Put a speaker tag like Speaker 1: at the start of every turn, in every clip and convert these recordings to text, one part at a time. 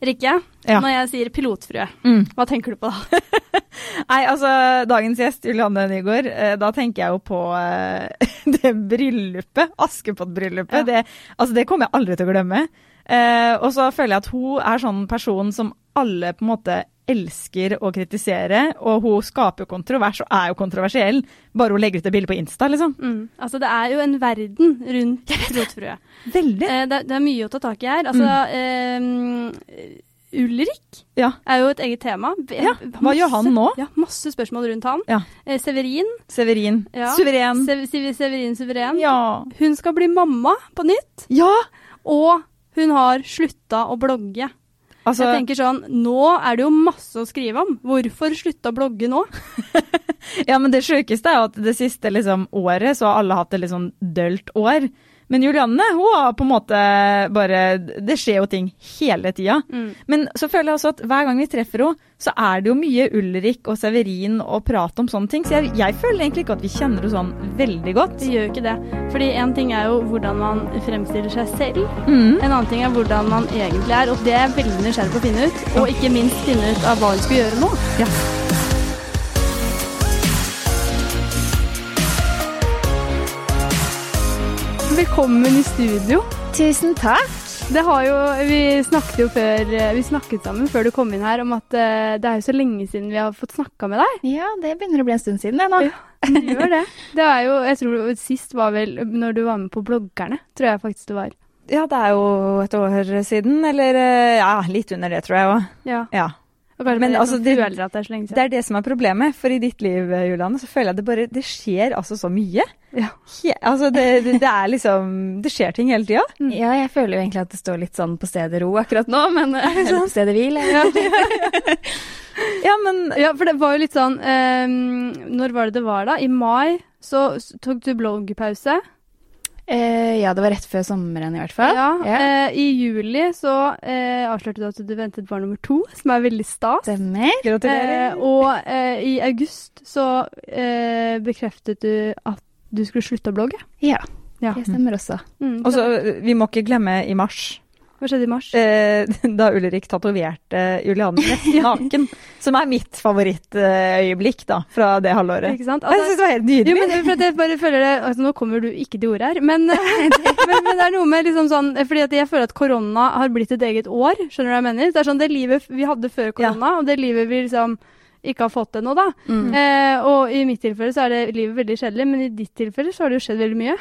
Speaker 1: Rikke,
Speaker 2: Ja.
Speaker 1: når jeg sier pilotfrue,
Speaker 2: Mm.
Speaker 1: hva tenker du på da?
Speaker 2: Nei, altså, dagens gjest, Julianne Nygaard, eh, da tenker jeg jo på eh, det bryllupet, Askepott-bryllupet.
Speaker 1: Ja.
Speaker 2: Det, altså, det kommer jeg aldri til å glemme. Eh, og så føler jeg at hun er sånn person som alle på en måte elsker å kritisere, og hun skaper jo kontrovers, og er jo kontroversiell, bare hun legger ut et bilde på Insta, liksom.
Speaker 1: Mm. Altså, det er jo en verden rundt pilotfrue.
Speaker 2: Veldig.
Speaker 1: Eh, det, er- det er mye å ta tak i her. Altså, eh, Ulrik
Speaker 2: Mm. Ja.
Speaker 1: er jo et eget tema.
Speaker 2: Ja, hva gjør han nå?
Speaker 1: Ja, masse spørsmål rundt han.
Speaker 2: Ja.
Speaker 1: Eh, Severin.
Speaker 2: Severin.
Speaker 1: Ja.
Speaker 2: Suveren.
Speaker 1: Sev- Siv- Severin Suveren.
Speaker 2: Ja.
Speaker 1: Hun skal bli mamma på nytt,
Speaker 2: Ja!
Speaker 1: og hun har slutta å blogge.
Speaker 2: Altså,
Speaker 1: jeg tenker sånn, Nå er det jo masse å skrive om. Hvorfor slutte å blogge nå?
Speaker 2: Ja, men det sjukeste er jo at det siste liksom, året så har alle hatt et litt sånn dølt år. Men Julianne, hun har på en måte bare Det skjer jo ting hele tida. Men så føler jeg også at hver gang vi treffer henne, så er det jo mye Ulrik og Severin og prat om sånne ting. Så jeg, jeg føler egentlig ikke at vi kjenner henne sånn veldig godt.
Speaker 1: Vi gjør jo ikke det. Fordi en ting er jo hvordan man fremstiller seg selv.
Speaker 2: Mm.
Speaker 1: En annen ting er hvordan man egentlig er, og det er jeg veldig nysgjerrig på å finne ut. Og ikke minst finne ut av hva hun skal gjøre nå.
Speaker 2: Ja.
Speaker 1: Velkommen i studio.
Speaker 3: Tusen takk.
Speaker 1: Det har jo, vi snakket jo før, vi snakket sammen før du kom inn her om at eh, det er jo så lenge siden vi har fått snakka med deg.
Speaker 3: Ja, det begynner å bli en stund siden det nå.
Speaker 1: Ja. Du gjør det. Det er jo, jeg tror sist var vel når du var med på Bloggerne, tror jeg faktisk det var.
Speaker 2: ja, det er jo et år siden, eller eh, ja, litt under det, tror jeg òg.
Speaker 1: Ja.
Speaker 2: Ja.
Speaker 1: Og kanskje
Speaker 2: Men
Speaker 1: Men,
Speaker 2: altså, det-
Speaker 1: føler at det er så lenge
Speaker 2: Det
Speaker 1: siden.
Speaker 2: er det som er problemet, for i ditt liv, eh, Julianne, så føler jeg det bare Det skjer altså så mye.
Speaker 1: Ja.
Speaker 2: He altså det, det, det er liksom Det skjer ting hele tida.
Speaker 1: Mm.
Speaker 3: Ja, jeg føler jo egentlig at det står litt sånn på stedet ro akkurat nå, men Eller på stedet hvil.
Speaker 1: Ja.
Speaker 2: Ja, men
Speaker 1: ja, for det var jo litt sånn eh, Når var det det var, da? I mai så s- tok du bloggpause.
Speaker 3: Eh, ja, det var rett før sommeren i hvert fall.
Speaker 1: Ja.
Speaker 3: Ja.
Speaker 1: eh, I juli så eh, avslørte du at du ventet barn nummer to, som er veldig stas.
Speaker 3: Stemmer.
Speaker 2: gratulerer.
Speaker 1: Eh, og eh, i august så eh, bekreftet du at du skulle slutte å blogge.
Speaker 3: Ja,
Speaker 1: Ja.
Speaker 3: det stemmer også.
Speaker 1: Mm.
Speaker 2: og så, eh, vi må ikke glemme i mars,
Speaker 1: Hva skjedde i mars?
Speaker 2: eh, da Ulrik tatoverte Julianne rett naken. Som er mitt favorittøyeblikk, da, fra det halvåret.
Speaker 1: Ikke sant?
Speaker 2: Jeg syns det var helt
Speaker 1: Jo,
Speaker 2: nydelig.
Speaker 1: men for at jeg bare føler det altså, Nå kommer du ikke til ordet her, men, men, men det er noe med liksom sånn Fordi at jeg føler at korona har blitt et eget år, skjønner du hva jeg mener? Det er sånn det livet vi hadde før korona, og det livet vi liksom ikke har fått ennå, da. Eh, og i mitt tilfelle så er det livet veldig kjedelig, men i ditt tilfelle så har det jo skjedd veldig mye.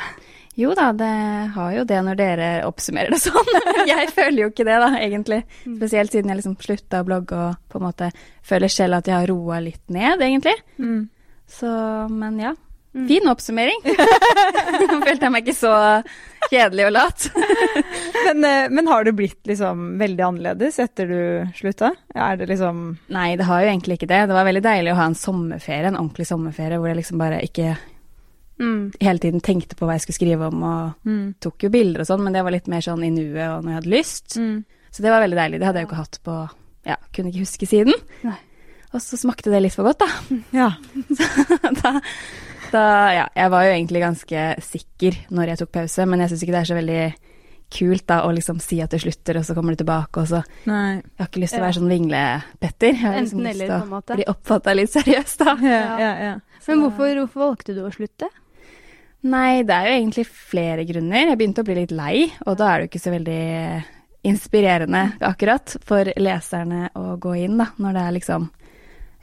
Speaker 3: Jo da, det har jo det når dere oppsummerer det sånn. jeg føler jo ikke det da, egentlig.
Speaker 1: Mm.
Speaker 3: Spesielt siden jeg liksom slutta å blogge og på en måte føler selv at jeg har roa litt ned, egentlig.
Speaker 2: Mm.
Speaker 3: Så, men ja.
Speaker 1: Mm.
Speaker 3: Fin oppsummering. Følte jeg meg ikke så kjedelig og lat.
Speaker 2: Men, eh, men har det blitt liksom veldig annerledes etter du slutta? Er det liksom
Speaker 3: Nei, det har jo egentlig ikke det. Det var veldig deilig å ha en sommerferie, en ordentlig sommerferie, hvor jeg liksom bare ikke hele tiden tenkte på hva jeg skulle skrive om, og
Speaker 1: Mm.
Speaker 3: tok jo bilder og sånn, men det var litt mer sånn i nuet og når jeg hadde lyst.
Speaker 1: Mm.
Speaker 3: Så det var veldig deilig. Det hadde jeg jo ikke hatt på Ja, kunne ikke huske siden.
Speaker 1: Nei.
Speaker 3: Og så smakte det litt for godt, da.
Speaker 2: Ja.
Speaker 3: da, da ja, jeg var jo egentlig ganske sikker når jeg tok pause, men jeg syns ikke det er så veldig kult da å liksom si at det slutter, og så kommer du tilbake, og så
Speaker 2: Nei.
Speaker 3: Jeg har ikke lyst til å være sånn vinglepetter. Jeg har liksom
Speaker 1: Enten
Speaker 3: lyst
Speaker 1: eller,
Speaker 3: til å
Speaker 1: på en måte.
Speaker 3: Bli oppfatta litt seriøst, da.
Speaker 2: Ja, ja, ja.
Speaker 1: Men hvorfor, hvorfor valgte du å slutte?
Speaker 3: Nei, det er jo egentlig flere grunner. Jeg begynte å bli litt lei, og da er det jo ikke så veldig inspirerende akkurat for leserne å gå inn, da, når det er liksom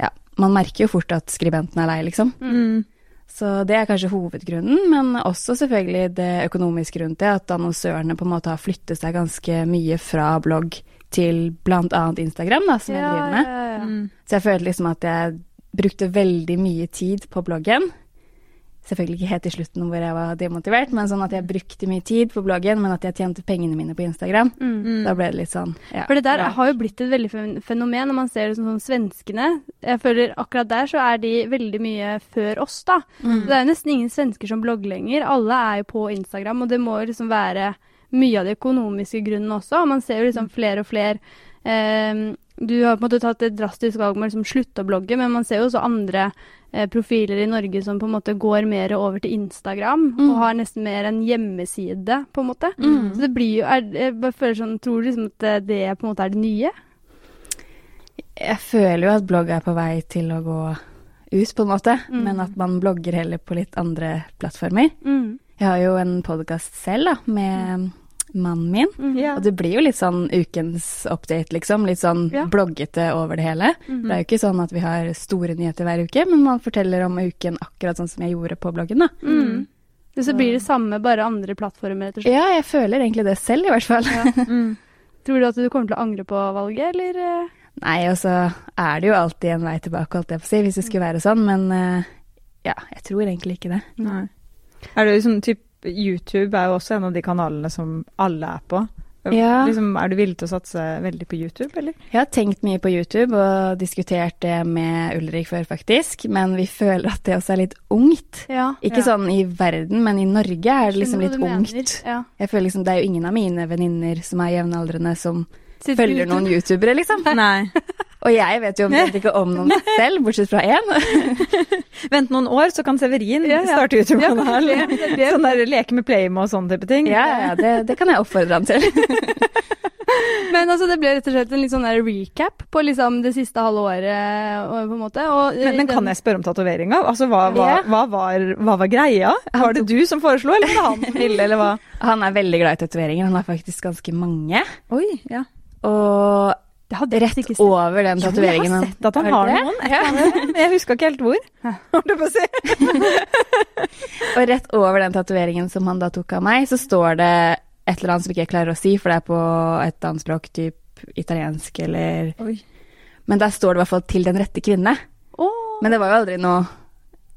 Speaker 3: Ja, man merker jo fort at skribenten er lei, liksom.
Speaker 2: Mm.
Speaker 3: Så det er kanskje hovedgrunnen, men også selvfølgelig det økonomiske rundt det, at annonsørene på en måte har flyttet seg ganske mye fra blogg til bl.a. Instagram, da, som jeg driver med.
Speaker 1: ja, ja.
Speaker 2: Mm.
Speaker 3: Så jeg følte liksom at jeg brukte veldig mye tid på bloggen. Selvfølgelig ikke helt til slutten hvor jeg var demotivert, men sånn at jeg brukte mye tid på bloggen, men at jeg tjente pengene mine på Instagram.
Speaker 2: Mm.
Speaker 1: Mm.
Speaker 3: Da ble det litt sånn, ja.
Speaker 1: For det der
Speaker 2: Ja.
Speaker 1: har jo blitt et veldig fen- fenomen når man ser det som sånn svenskene. Jeg føler akkurat der så er de veldig mye før oss, da.
Speaker 2: Mm.
Speaker 1: Så Det er jo nesten ingen svensker som blogger lenger. Alle er jo på Instagram, og det må jo liksom være mye av de økonomiske grunnene også. Og man ser jo liksom flere og flere eh, Du har på en måte tatt et drastisk valg med å liksom slutte å blogge, men man ser jo også andre eh, profiler i Norge som på en måte går mer over til Instagram
Speaker 2: Mm.
Speaker 1: og har nesten mer en hjemmeside, på en måte.
Speaker 2: Mm.
Speaker 1: Så det blir jo er, Jeg bare føler sånn Tror du liksom at det på en måte er det nye?
Speaker 3: Jeg føler jo at blogg er på vei til å gå ut, på en måte,
Speaker 1: Mm.
Speaker 3: men at man blogger heller på litt andre plattformer. Jeg har jo en podkast selv, da, med mannen min.
Speaker 1: Mm.
Speaker 2: Ja.
Speaker 3: Og det blir jo litt sånn ukens update, liksom. Litt sånn
Speaker 1: Ja.
Speaker 3: bloggete over det hele. Det
Speaker 1: Mm.
Speaker 3: er jo ikke sånn at vi har store nyheter hver uke, men man forteller om uken akkurat sånn som jeg gjorde på bloggen, da.
Speaker 1: Mm. Så, så blir det samme, bare andre plattformer, rett og slett.
Speaker 3: Ja, jeg føler egentlig det selv, i hvert fall.
Speaker 2: Mm.
Speaker 1: Tror du at du kommer til å angre på valget, eller? eh?
Speaker 3: Nei, og så er det jo alltid en vei tilbake, holdt jeg på å si, hvis det skulle være sånn, men eh, ja, jeg tror egentlig ikke det.
Speaker 2: Nei. Er det jo sånn typ, YouTube er jo også en av de kanalene som alle er på.
Speaker 3: Ja.
Speaker 2: Liksom, er du villig til å satse veldig på YouTube, eller?
Speaker 3: Jeg har tenkt mye på YouTube og diskutert det med Ulrik før, faktisk, men vi føler at det også er litt ungt.
Speaker 1: Ja.
Speaker 3: Ikke
Speaker 2: Ja.
Speaker 3: sånn i verden, men i Norge er det liksom litt ungt.
Speaker 1: Ja.
Speaker 3: Jeg føler liksom det er jo ingen av mine venninner som er jevnaldrende som
Speaker 1: Sitter
Speaker 3: følger
Speaker 1: ute.
Speaker 3: noen youtubere, liksom.
Speaker 2: Nei.
Speaker 3: Og jeg vet jo omtrent ikke om noen selv, bortsett fra én.
Speaker 2: Vent noen år, så kan Severin
Speaker 1: Ja, ja.
Speaker 2: starte YouTube-kanal.
Speaker 1: Ja, det
Speaker 3: liksom?
Speaker 1: er det.
Speaker 2: sånn der leke med Playmo og sånn type ting.
Speaker 3: Ja, ja, det, det kan jeg oppfordre ham til.
Speaker 1: Men altså, det ble rett og slett en litt sånn der recap på liksom det siste halve året, og- på en måte. Og,
Speaker 2: Men, men kan jeg spørre om tatoveringa? Altså, hva, hva,
Speaker 3: Ja.
Speaker 2: hva, var, hva var greia? Var det du som foreslo, eller var det han som ville, eller hva?
Speaker 3: Han er veldig glad i tatoveringer, han har faktisk ganske mange.
Speaker 2: Oi, ja.
Speaker 3: Og rett
Speaker 1: ikke sett.
Speaker 3: over den
Speaker 2: Jo, jeg
Speaker 3: tatoveringen
Speaker 2: har sett at han har
Speaker 3: det?
Speaker 2: noen. Ja. Men jeg huska ikke helt hvor. Holdt jeg på å si.
Speaker 3: Og rett over den tatoveringen som han da tok av meg, så står det et eller annet som ikke jeg klarer å si, for det er på et annet språk, typ italiensk eller Men der står det i hvert fall 'til den rette kvinne'.
Speaker 1: Åh.
Speaker 3: Men det var jo aldri noe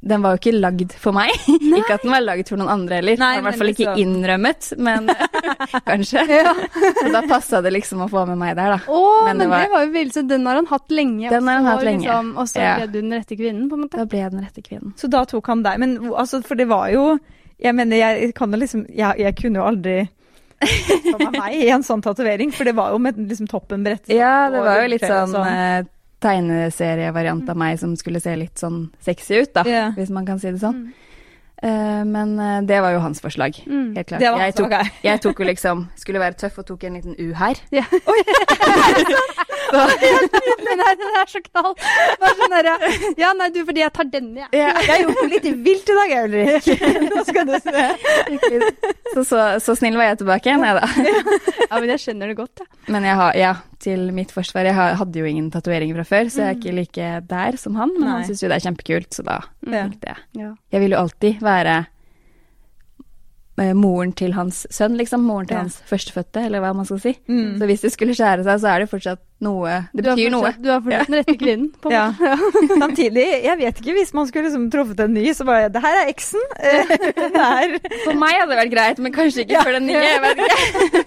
Speaker 3: Den var jo ikke lagd for meg. ikke at den var lagd for noen andre heller.
Speaker 2: Nei,
Speaker 3: den var i hvert fall
Speaker 2: men
Speaker 3: ikke innrømmet, men kanskje. Så da passa det liksom å få med meg der, da.
Speaker 1: Åh, men,
Speaker 3: Men
Speaker 1: det
Speaker 3: det var-
Speaker 1: var... jo veldig så Den har han hatt lenge.
Speaker 3: Den har han
Speaker 1: og så
Speaker 3: hatt lenge.
Speaker 1: Liksom, og så
Speaker 3: Ja.
Speaker 1: ble du den rette kvinnen, på en måte.
Speaker 3: Da ble jeg den rette kvinnen.
Speaker 2: Så da tok han deg. Men hvor- altså, for det var jo Jeg mener, jeg kan jo liksom Jeg, jeg kunne jo aldri sett for meg meg i en sånn tatovering, for det var jo med liksom toppen brettet.
Speaker 3: Ja, det
Speaker 2: og
Speaker 3: var jo litt
Speaker 2: rundkjøret og
Speaker 3: sånn eh, tegneserievariant av meg som skulle se litt sånn sexy ut, da.
Speaker 2: Ja.
Speaker 3: Hvis man kan si det sånn. Eh, men eh, det var jo hans forslag.
Speaker 1: Mm.
Speaker 3: Helt klart.
Speaker 2: Det var
Speaker 3: jeg,
Speaker 2: hans
Speaker 3: tok,
Speaker 2: forslag.
Speaker 3: jeg tok jo liksom Skulle være tøff og tok en liten U her.
Speaker 1: Ja. Den her, den er så knall. Bare sånn derre Ja, nei, du, fordi jeg tar denne, jeg.
Speaker 3: Ja.
Speaker 2: Jeg gjorde det litt vilt i dag, Ulrik. Nå skal du se.
Speaker 3: Så, så, så snill var jeg tilbake igjen, jeg, da.
Speaker 1: Ja, men jeg skjønner det godt, jeg.
Speaker 3: Men jeg har, ja, til mitt forsvar, jeg har, hadde jo ingen tatoveringer fra før, så jeg er ikke like der som han, men
Speaker 2: Nei.
Speaker 3: han syns jo det er kjempekult, så da
Speaker 2: Ja.
Speaker 3: tenkte jeg.
Speaker 1: Ja.
Speaker 3: Jeg vil jo alltid være eh, moren til hans sønn, liksom. Moren til
Speaker 2: Ja.
Speaker 3: hans førstefødte, eller hva man skal si.
Speaker 2: Mm.
Speaker 3: Så hvis det skulle skjære seg, så er det fortsatt noe Det
Speaker 1: Du er
Speaker 3: betyr noe.
Speaker 1: fortsatt- Du er fortsatt den rette kvinnen, på en
Speaker 2: Ja.
Speaker 1: måte.
Speaker 2: Samtidig, jeg vet ikke, hvis man skulle liksom truffet en ny, så bare Det her er eksen. Eh, Det er
Speaker 3: For meg hadde det vært greit, men kanskje ikke for den nye. jeg vet ikke.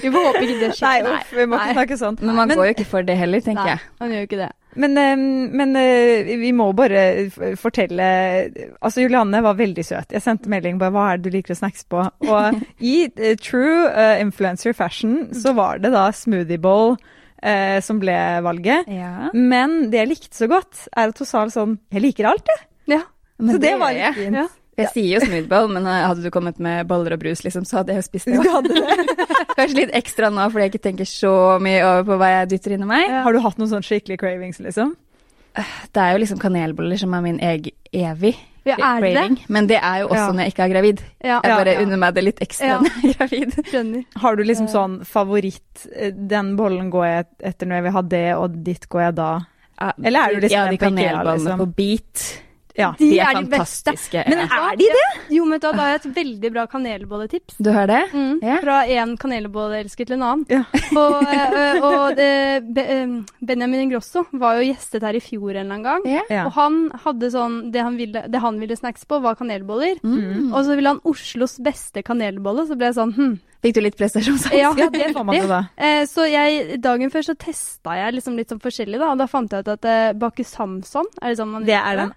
Speaker 1: Vi får håpe ikke det
Speaker 2: Nei,
Speaker 1: skjer.
Speaker 2: uff, vi må ikke snakke sånn.
Speaker 3: Men man
Speaker 2: Men-
Speaker 3: går jo ikke for det heller, tenker
Speaker 1: Nei,
Speaker 3: jeg.
Speaker 1: han gjør jo ikke det.
Speaker 2: Men, eh, men eh, vi må bare f- fortelle Altså, Julianne var veldig søt. Jeg sendte melding bare 'Hva er det du liker å snackse på?' Og i eh, true eh, influencer fashion så var det da smoothie bowl eh, som ble valget.
Speaker 3: Ja.
Speaker 2: Men det jeg likte så godt, er at hun sa sånn 'Jeg liker alt, jeg'.
Speaker 1: Ja.
Speaker 3: Men
Speaker 2: så det, var
Speaker 3: gjør
Speaker 2: litt
Speaker 3: jeg.
Speaker 2: fint.
Speaker 1: Ja.
Speaker 3: Jeg sier jo smoothball, men eh, hadde du kommet med boller og brus, liksom, så hadde jeg jo spist det.
Speaker 2: Du hadde det.
Speaker 3: Kanskje litt ekstra nå, fordi jeg ikke tenker så mye over på hva jeg dytter inni meg.
Speaker 1: Ja.
Speaker 2: Har du hatt noen sånn skikkelig cravings, liksom?
Speaker 3: Det er jo liksom kanelboller som er min egen evig
Speaker 1: Ja, er det
Speaker 3: craving. Men det er jo også
Speaker 2: Ja.
Speaker 3: når jeg ikke er gravid.
Speaker 1: Ja,
Speaker 3: Jeg
Speaker 2: Ja,
Speaker 3: bare
Speaker 2: ja.
Speaker 3: unner meg det litt ekstra
Speaker 1: Ja.
Speaker 3: når jeg er gravid.
Speaker 1: skjønner.
Speaker 2: Har du liksom sånn favoritt eh, 'Den bollen går jeg etter når jeg vil ha det, og ditt går jeg da'? Eller er du liksom
Speaker 3: ja,
Speaker 2: en
Speaker 3: de
Speaker 2: på Ikea,
Speaker 3: kanelbollene
Speaker 2: liksom?
Speaker 3: på bit.
Speaker 2: Ja.
Speaker 1: De
Speaker 3: De,
Speaker 1: er
Speaker 3: er,
Speaker 1: de beste.
Speaker 3: fantastiske.
Speaker 2: Men
Speaker 3: ja.
Speaker 2: er de det?
Speaker 1: Jo, men da, da har jeg et veldig bra kanelbolletips.
Speaker 3: Du har det?
Speaker 1: Mm.
Speaker 3: Ja.
Speaker 1: Fra en kanelbolleelsker til en annen.
Speaker 2: Ja.
Speaker 1: Og, eh, og det, Be- eh, Benjamin Ingrosso var jo gjestet her i fjor en eller annen gang.
Speaker 3: Ja.
Speaker 2: Ja.
Speaker 1: Og han hadde sånn det han, ville, det han ville snacks på, var kanelboller. Og så ville han Oslos beste kanelbolle. Så ble jeg sånn hm,
Speaker 3: Fikk du litt prestasjonsangst?
Speaker 1: ja,
Speaker 2: Ja, det får man jo da.
Speaker 1: Eh, så jeg, dagen før så testa jeg liksom litt sånn forskjellig, da. Og da fant jeg ut at eh, Baku Samson er det sånn man
Speaker 2: Det er den.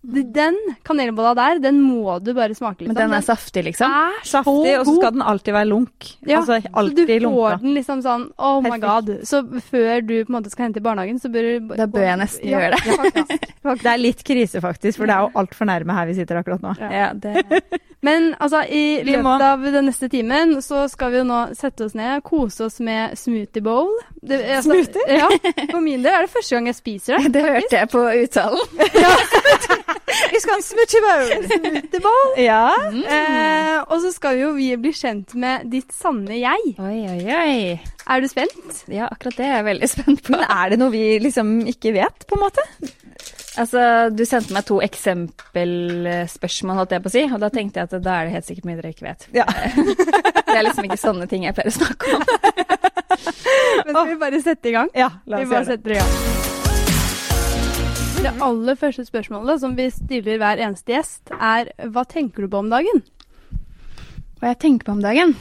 Speaker 1: Det- Den kanelbolla der, den må du bare smake litt
Speaker 3: Men den er saftig, liksom.
Speaker 1: er så
Speaker 2: Saftig, og så
Speaker 1: god.
Speaker 2: skal den alltid være lunk.
Speaker 1: Ja,
Speaker 2: altså
Speaker 1: Så du
Speaker 2: alltid
Speaker 1: får
Speaker 2: lunka.
Speaker 1: den liksom sånn Oh my
Speaker 2: Perfekt.
Speaker 1: god. Så før du på en måte skal hente i barnehagen, så bør du
Speaker 3: Da bør jeg nesten gjøre det.
Speaker 1: det.
Speaker 2: Det er litt krise, faktisk, for det er jo altfor nærme her vi sitter akkurat nå.
Speaker 1: Ja.
Speaker 3: Ja, det
Speaker 1: Men altså, i
Speaker 2: Vi må-
Speaker 1: løpet av den neste timen så skal vi jo nå sette oss ned, kose oss med smoothie bowl. Det, altså,
Speaker 2: Smoothie?
Speaker 1: Ja. For min del er det første gang jeg spiser det.
Speaker 3: Det hørte jeg på uttalen.
Speaker 2: Vi skal ha en smoothie bowl!
Speaker 1: Smoothie bowl.
Speaker 2: Ja.
Speaker 1: Eh, og så skal jo vi bli kjent med ditt sanne jeg.
Speaker 3: Oi, oi, oi.
Speaker 1: Er du spent?
Speaker 3: Ja, akkurat det er jeg veldig spent på.
Speaker 2: Men er det noe vi liksom ikke vet, på en måte?
Speaker 3: Altså, du sendte meg to eksempelspørsmål, holdt jeg på å si, og da tenkte jeg at da er det helt sikkert mye dere ikke vet.
Speaker 2: Ja.
Speaker 3: Det er liksom ikke sånne ting jeg pleier å snakke om.
Speaker 1: Men skal vi bare sette i gang?
Speaker 2: ja la
Speaker 1: Vi
Speaker 2: oss
Speaker 1: bare
Speaker 2: gjøre det.
Speaker 1: setter i gang. Det aller første spørsmålet som vi stiller hver eneste gjest, er hva tenker du på om dagen?
Speaker 3: Hva jeg tenker på om dagen?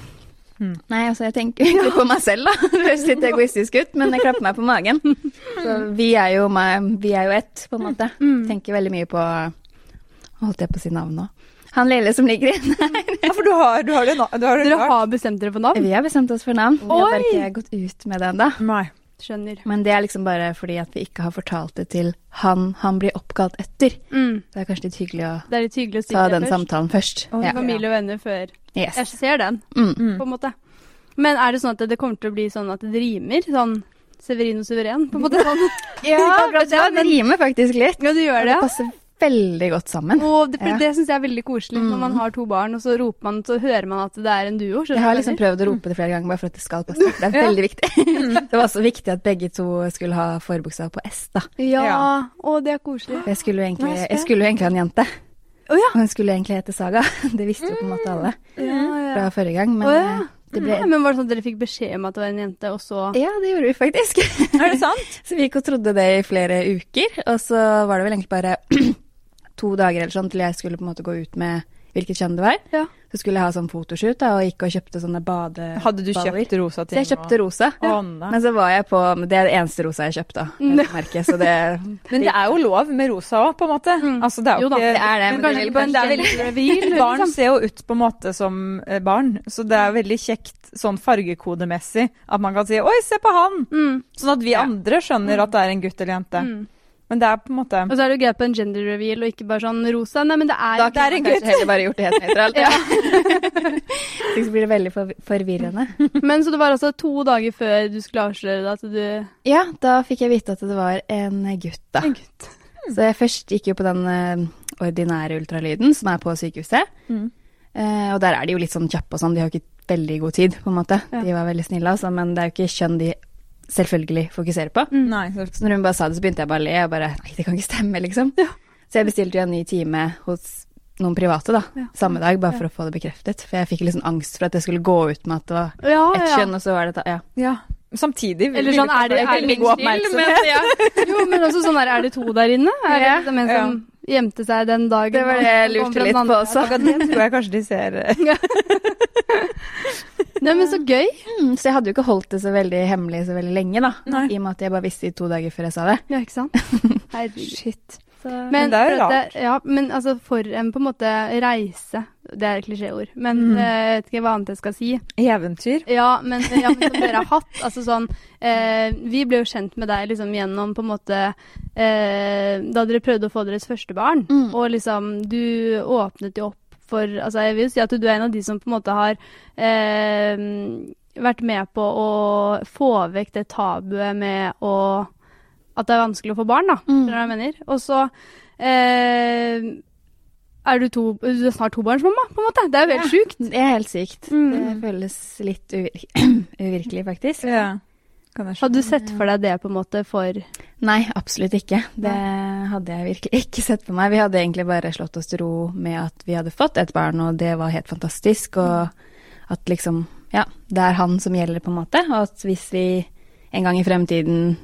Speaker 2: Mm.
Speaker 3: Nei, altså, jeg tenker egentlig på meg selv, da. Det høres litt egoistisk ut, men jeg klapper meg på magen. Så vi er jo, meg, vi er jo ett, på en måte. Tenker veldig mye på Holdt jeg på å si navn nå? Han lille som ligger inne.
Speaker 2: Ja, for du har, du har det nå. Du har det
Speaker 1: Dere
Speaker 2: klart.
Speaker 1: har bestemt dere for navn?
Speaker 3: Vi har bestemt oss for navn. Vi har bare
Speaker 1: Oi!
Speaker 3: ikke gått ut med det ennå.
Speaker 2: Nei.
Speaker 1: Skjønner.
Speaker 3: Men det er liksom bare fordi at vi ikke har fortalt det til han han blir oppkalt etter.
Speaker 1: Mm.
Speaker 3: Det er kanskje litt hyggelig å
Speaker 1: Det er litt hyggelig å si
Speaker 3: ta
Speaker 1: det
Speaker 3: den
Speaker 1: først.
Speaker 3: samtalen først.
Speaker 2: Oi,
Speaker 3: Ja.
Speaker 2: hva-
Speaker 1: Familie og venner før. Jeg
Speaker 3: Yes.
Speaker 1: ser den,
Speaker 3: Mm.
Speaker 1: på en måte. Men er det sånn at det kommer til å bli sånn at det rimer? Sånn Severin og suveren, på en måte? Sånn.
Speaker 3: Ja, bra, det rimer faktisk litt.
Speaker 1: Ja, du
Speaker 3: Og
Speaker 1: gjør
Speaker 3: det
Speaker 1: det? ja.
Speaker 3: passer veldig godt sammen.
Speaker 1: Og det,
Speaker 3: Ja. Mm.
Speaker 1: for det syns jeg er veldig koselig, når man har to barn, og så roper man, så hører man at det er en duo. skjønner
Speaker 3: Jeg
Speaker 1: du
Speaker 3: har
Speaker 1: hva
Speaker 3: liksom
Speaker 1: jeg mener?
Speaker 3: prøvd å rope det flere ganger bare for at det skal passe. Det er veldig viktig.
Speaker 1: Mm.
Speaker 3: Det var også viktig at begge to skulle ha forbokstav på S, da.
Speaker 1: Ja.
Speaker 2: Ja.
Speaker 1: Å, det er koselig.
Speaker 3: Jeg skulle jo egentlig,
Speaker 2: Nå er jeg spent.
Speaker 3: jeg skulle jo egentlig ha en jente.
Speaker 1: Å ja.
Speaker 3: Og hun skulle egentlig hete Saga. Det visste jo på en måte alle
Speaker 1: Ja, ja.
Speaker 3: fra forrige gang, men
Speaker 1: Mm. Å ja.
Speaker 3: eh, det
Speaker 1: Nei,
Speaker 3: ble
Speaker 1: men var det sånn at dere fikk beskjed om at det var en jente, og så
Speaker 3: Ja, det gjorde vi faktisk.
Speaker 2: Er det sant?
Speaker 3: Så vi gikk og trodde det i flere uker, og så var det vel egentlig bare to dager eller sånn til jeg skulle på en måte gå ut med hvilket kjønn det var.
Speaker 1: Ja.
Speaker 3: Så skulle jeg ha sånn fotoshoot da, og gikk og kjøpte sånne badeballer.
Speaker 2: Hadde du kjøpt rosa ting?
Speaker 3: Så jeg kjøpte rosa.
Speaker 2: Å, nei.
Speaker 3: Men så var jeg på men Det er det eneste rosa jeg kjøpte, da. vil jeg merke, Så det
Speaker 2: Men det er jo lov med rosa òg, på en måte. Altså, det er jo,
Speaker 1: Jo da,
Speaker 2: ikke
Speaker 3: det er det,
Speaker 1: Men
Speaker 3: men
Speaker 1: kanskje
Speaker 3: det vil
Speaker 1: ikke på en
Speaker 2: det er
Speaker 1: kjendis reveal,
Speaker 2: Barn
Speaker 1: liksom.
Speaker 2: ser jo ut på en måte som eh, barn, så det er veldig kjekt sånn fargekodemessig at man kan si 'oi, se på han',
Speaker 1: Mm.
Speaker 2: sånn at vi andre skjønner at det er en gutt eller jente.
Speaker 1: Mm.
Speaker 2: Men det er på en måte
Speaker 1: Og så er det jo greit på en gender reveal, og ikke bare sånn rosa. Nei, men det er
Speaker 3: Da kunne man kanskje heller bare gjort det helt nøytralt.
Speaker 1: Ja.
Speaker 3: Så blir det veldig for forvirrende.
Speaker 1: Men så det var altså to dager før du skulle avsløre det at du
Speaker 3: Ja, da fikk jeg vite at det var en gutt, da.
Speaker 1: En gutt.
Speaker 3: Så jeg først gikk jo på den eh, ordinære ultralyden som er på sykehuset.
Speaker 2: Mm.
Speaker 3: Eh, og der er de jo litt sånn kjappe og sånn, de har jo ikke veldig god tid, på en måte.
Speaker 1: Ja.
Speaker 3: De var veldig snille, altså, men det er jo ikke kjønn de selvfølgelig fokuserer på.
Speaker 1: Mm.
Speaker 2: Nei. så-
Speaker 3: Så når hun bare sa det, så begynte jeg bare å le. Jeg bare Nei, det kan ikke stemme, liksom. Så jeg bestilte jo en ny time hos noen private, da.
Speaker 1: Ja.
Speaker 3: Samme dag, bare for å få det bekreftet. For jeg fikk litt sånn angst for at det skulle gå ut med at det var
Speaker 1: Ja,
Speaker 3: ett
Speaker 1: ja.
Speaker 3: kjønn, og så var det ta, Ja.
Speaker 2: sånn. Ja. Samtidig
Speaker 1: Eller sånn, er det- er det
Speaker 2: veldig god oppmerksomhet.
Speaker 1: Jo, men også sånn der, er det to der inne? Er det
Speaker 3: Ja,
Speaker 1: liksom en som gjemte seg den dagen?
Speaker 3: Det var det jeg
Speaker 1: og kom
Speaker 3: lurte
Speaker 1: fra den
Speaker 3: litt på
Speaker 1: andre?
Speaker 3: også.
Speaker 2: Akkurat det tror jeg kanskje de ser. eh,
Speaker 1: Nei, men så gøy.
Speaker 3: Mm, så jeg hadde jo ikke holdt det så veldig hemmelig så veldig lenge, da.
Speaker 2: Nei.
Speaker 3: I og med at jeg bare visste i to dager før jeg sa det.
Speaker 1: Ja, ikke sant? Herregud.
Speaker 2: Shit.
Speaker 1: Men,
Speaker 2: Men det er jo
Speaker 1: for at ja, men altså for en på en måte reise Det er klisjéord, men
Speaker 2: Mm.
Speaker 1: eh, jeg vet ikke hva annet jeg skal si.
Speaker 2: Eventyr.
Speaker 1: Ja, men, eh, ja, men som dere har hatt. Altså sånn eh, Vi ble jo kjent med deg liksom gjennom på en måte eh, Da dere prøvde å få deres første barn,
Speaker 3: Mm.
Speaker 1: og liksom Du åpnet jo opp for Altså, jeg vil jo si at du er en av de som på en måte har eh, vært med på å få vekk det tabuet med å At det er vanskelig å få barn, da.
Speaker 3: Mm.
Speaker 1: Skjønner du hva jeg mener? Og så eh, er du, to, du er snart tobarnsmamma, på en måte. Det er jo helt
Speaker 3: Ja.
Speaker 1: sjukt.
Speaker 3: Det er helt sykt.
Speaker 1: Mm.
Speaker 3: Det føles litt uvir uvirkelig, faktisk.
Speaker 2: Ja. Kan jeg skjønne.
Speaker 1: Hadde du sett for deg det på en måte for
Speaker 3: Nei, absolutt ikke. Det hadde jeg virkelig ikke sett på meg. Vi hadde egentlig bare slått oss til ro med at vi hadde fått et barn, og det var helt fantastisk. Og at liksom, ja, det er han som gjelder, på en måte. Og at hvis vi en gang i fremtiden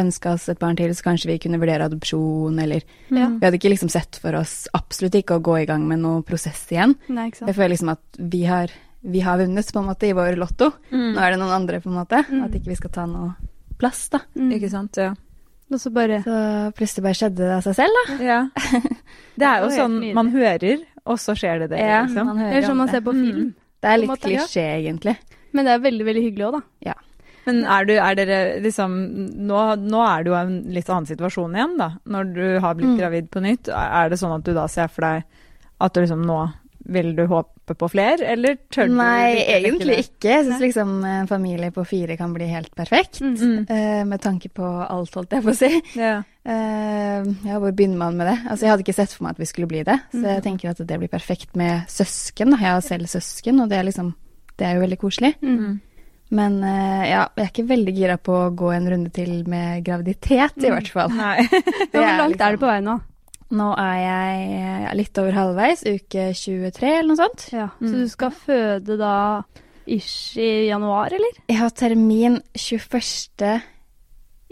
Speaker 3: ønska oss et barn til, så kanskje vi kunne vurdere adopsjon, eller
Speaker 1: Ja.
Speaker 3: Vi hadde ikke liksom sett for oss absolutt ikke å gå i gang med noen prosess igjen.
Speaker 1: Nei, ikke sant.
Speaker 3: Jeg føler liksom at vi har, vi har vunnet, på en måte, i vår lotto. Nå
Speaker 2: Mm.
Speaker 3: er det noen andre, på en måte. At ikke vi skal ta noe plass, da.
Speaker 1: Mm.
Speaker 2: Ikke sant? Ja.
Speaker 1: Og så bare
Speaker 3: Så plutselig bare skjedde det av seg selv, da.
Speaker 2: ja. Det er jo
Speaker 1: Det var helt
Speaker 2: sånn
Speaker 1: nydelig.
Speaker 2: man hører, og så skjer det det,
Speaker 3: Ja,
Speaker 2: liksom.
Speaker 3: man
Speaker 1: Eller
Speaker 3: hører
Speaker 1: som
Speaker 3: om
Speaker 1: man
Speaker 3: det.
Speaker 1: ser på film.
Speaker 3: Det er
Speaker 1: på en
Speaker 3: litt
Speaker 1: måte, ja.
Speaker 3: klisjé, egentlig.
Speaker 1: Men det er veldig, veldig hyggelig òg, da.
Speaker 2: Men er, du, er dere liksom nå, nå er det jo en litt annen situasjon igjen, da. Når du har blitt
Speaker 1: Mm.
Speaker 2: gravid på nytt. Er det sånn at du da ser for deg at du liksom nå vil du håpe på flere, eller tør du
Speaker 3: Nei, egentlig
Speaker 2: ikke.
Speaker 3: ikke. Jeg syns liksom en familie på fire kan bli helt perfekt.
Speaker 2: Mm.
Speaker 3: eh, med tanke på alt, holdt jeg på å si.
Speaker 2: Ja.
Speaker 3: Eh, ja, hvor begynner man med det? Altså, jeg hadde ikke sett for meg at vi skulle bli det, så
Speaker 1: Mm.
Speaker 3: jeg tenker at det blir perfekt med søsken. da. Jeg har selv søsken, og det er liksom Det er jo veldig koselig.
Speaker 2: Mm.
Speaker 3: Men eh, ja, jeg er ikke veldig gira på å gå en runde til med graviditet,
Speaker 1: Mm.
Speaker 3: i hvert fall.
Speaker 2: Nei.
Speaker 1: Ja, Hvor
Speaker 3: er
Speaker 1: langt er
Speaker 3: liksom-
Speaker 1: det på vei nå?
Speaker 3: Nå er jeg eh, ja, litt over halvveis, uke 23 eller noe sånt.
Speaker 1: Ja. Så du skal føde da ish i januar, eller?
Speaker 3: Jeg har termin 21.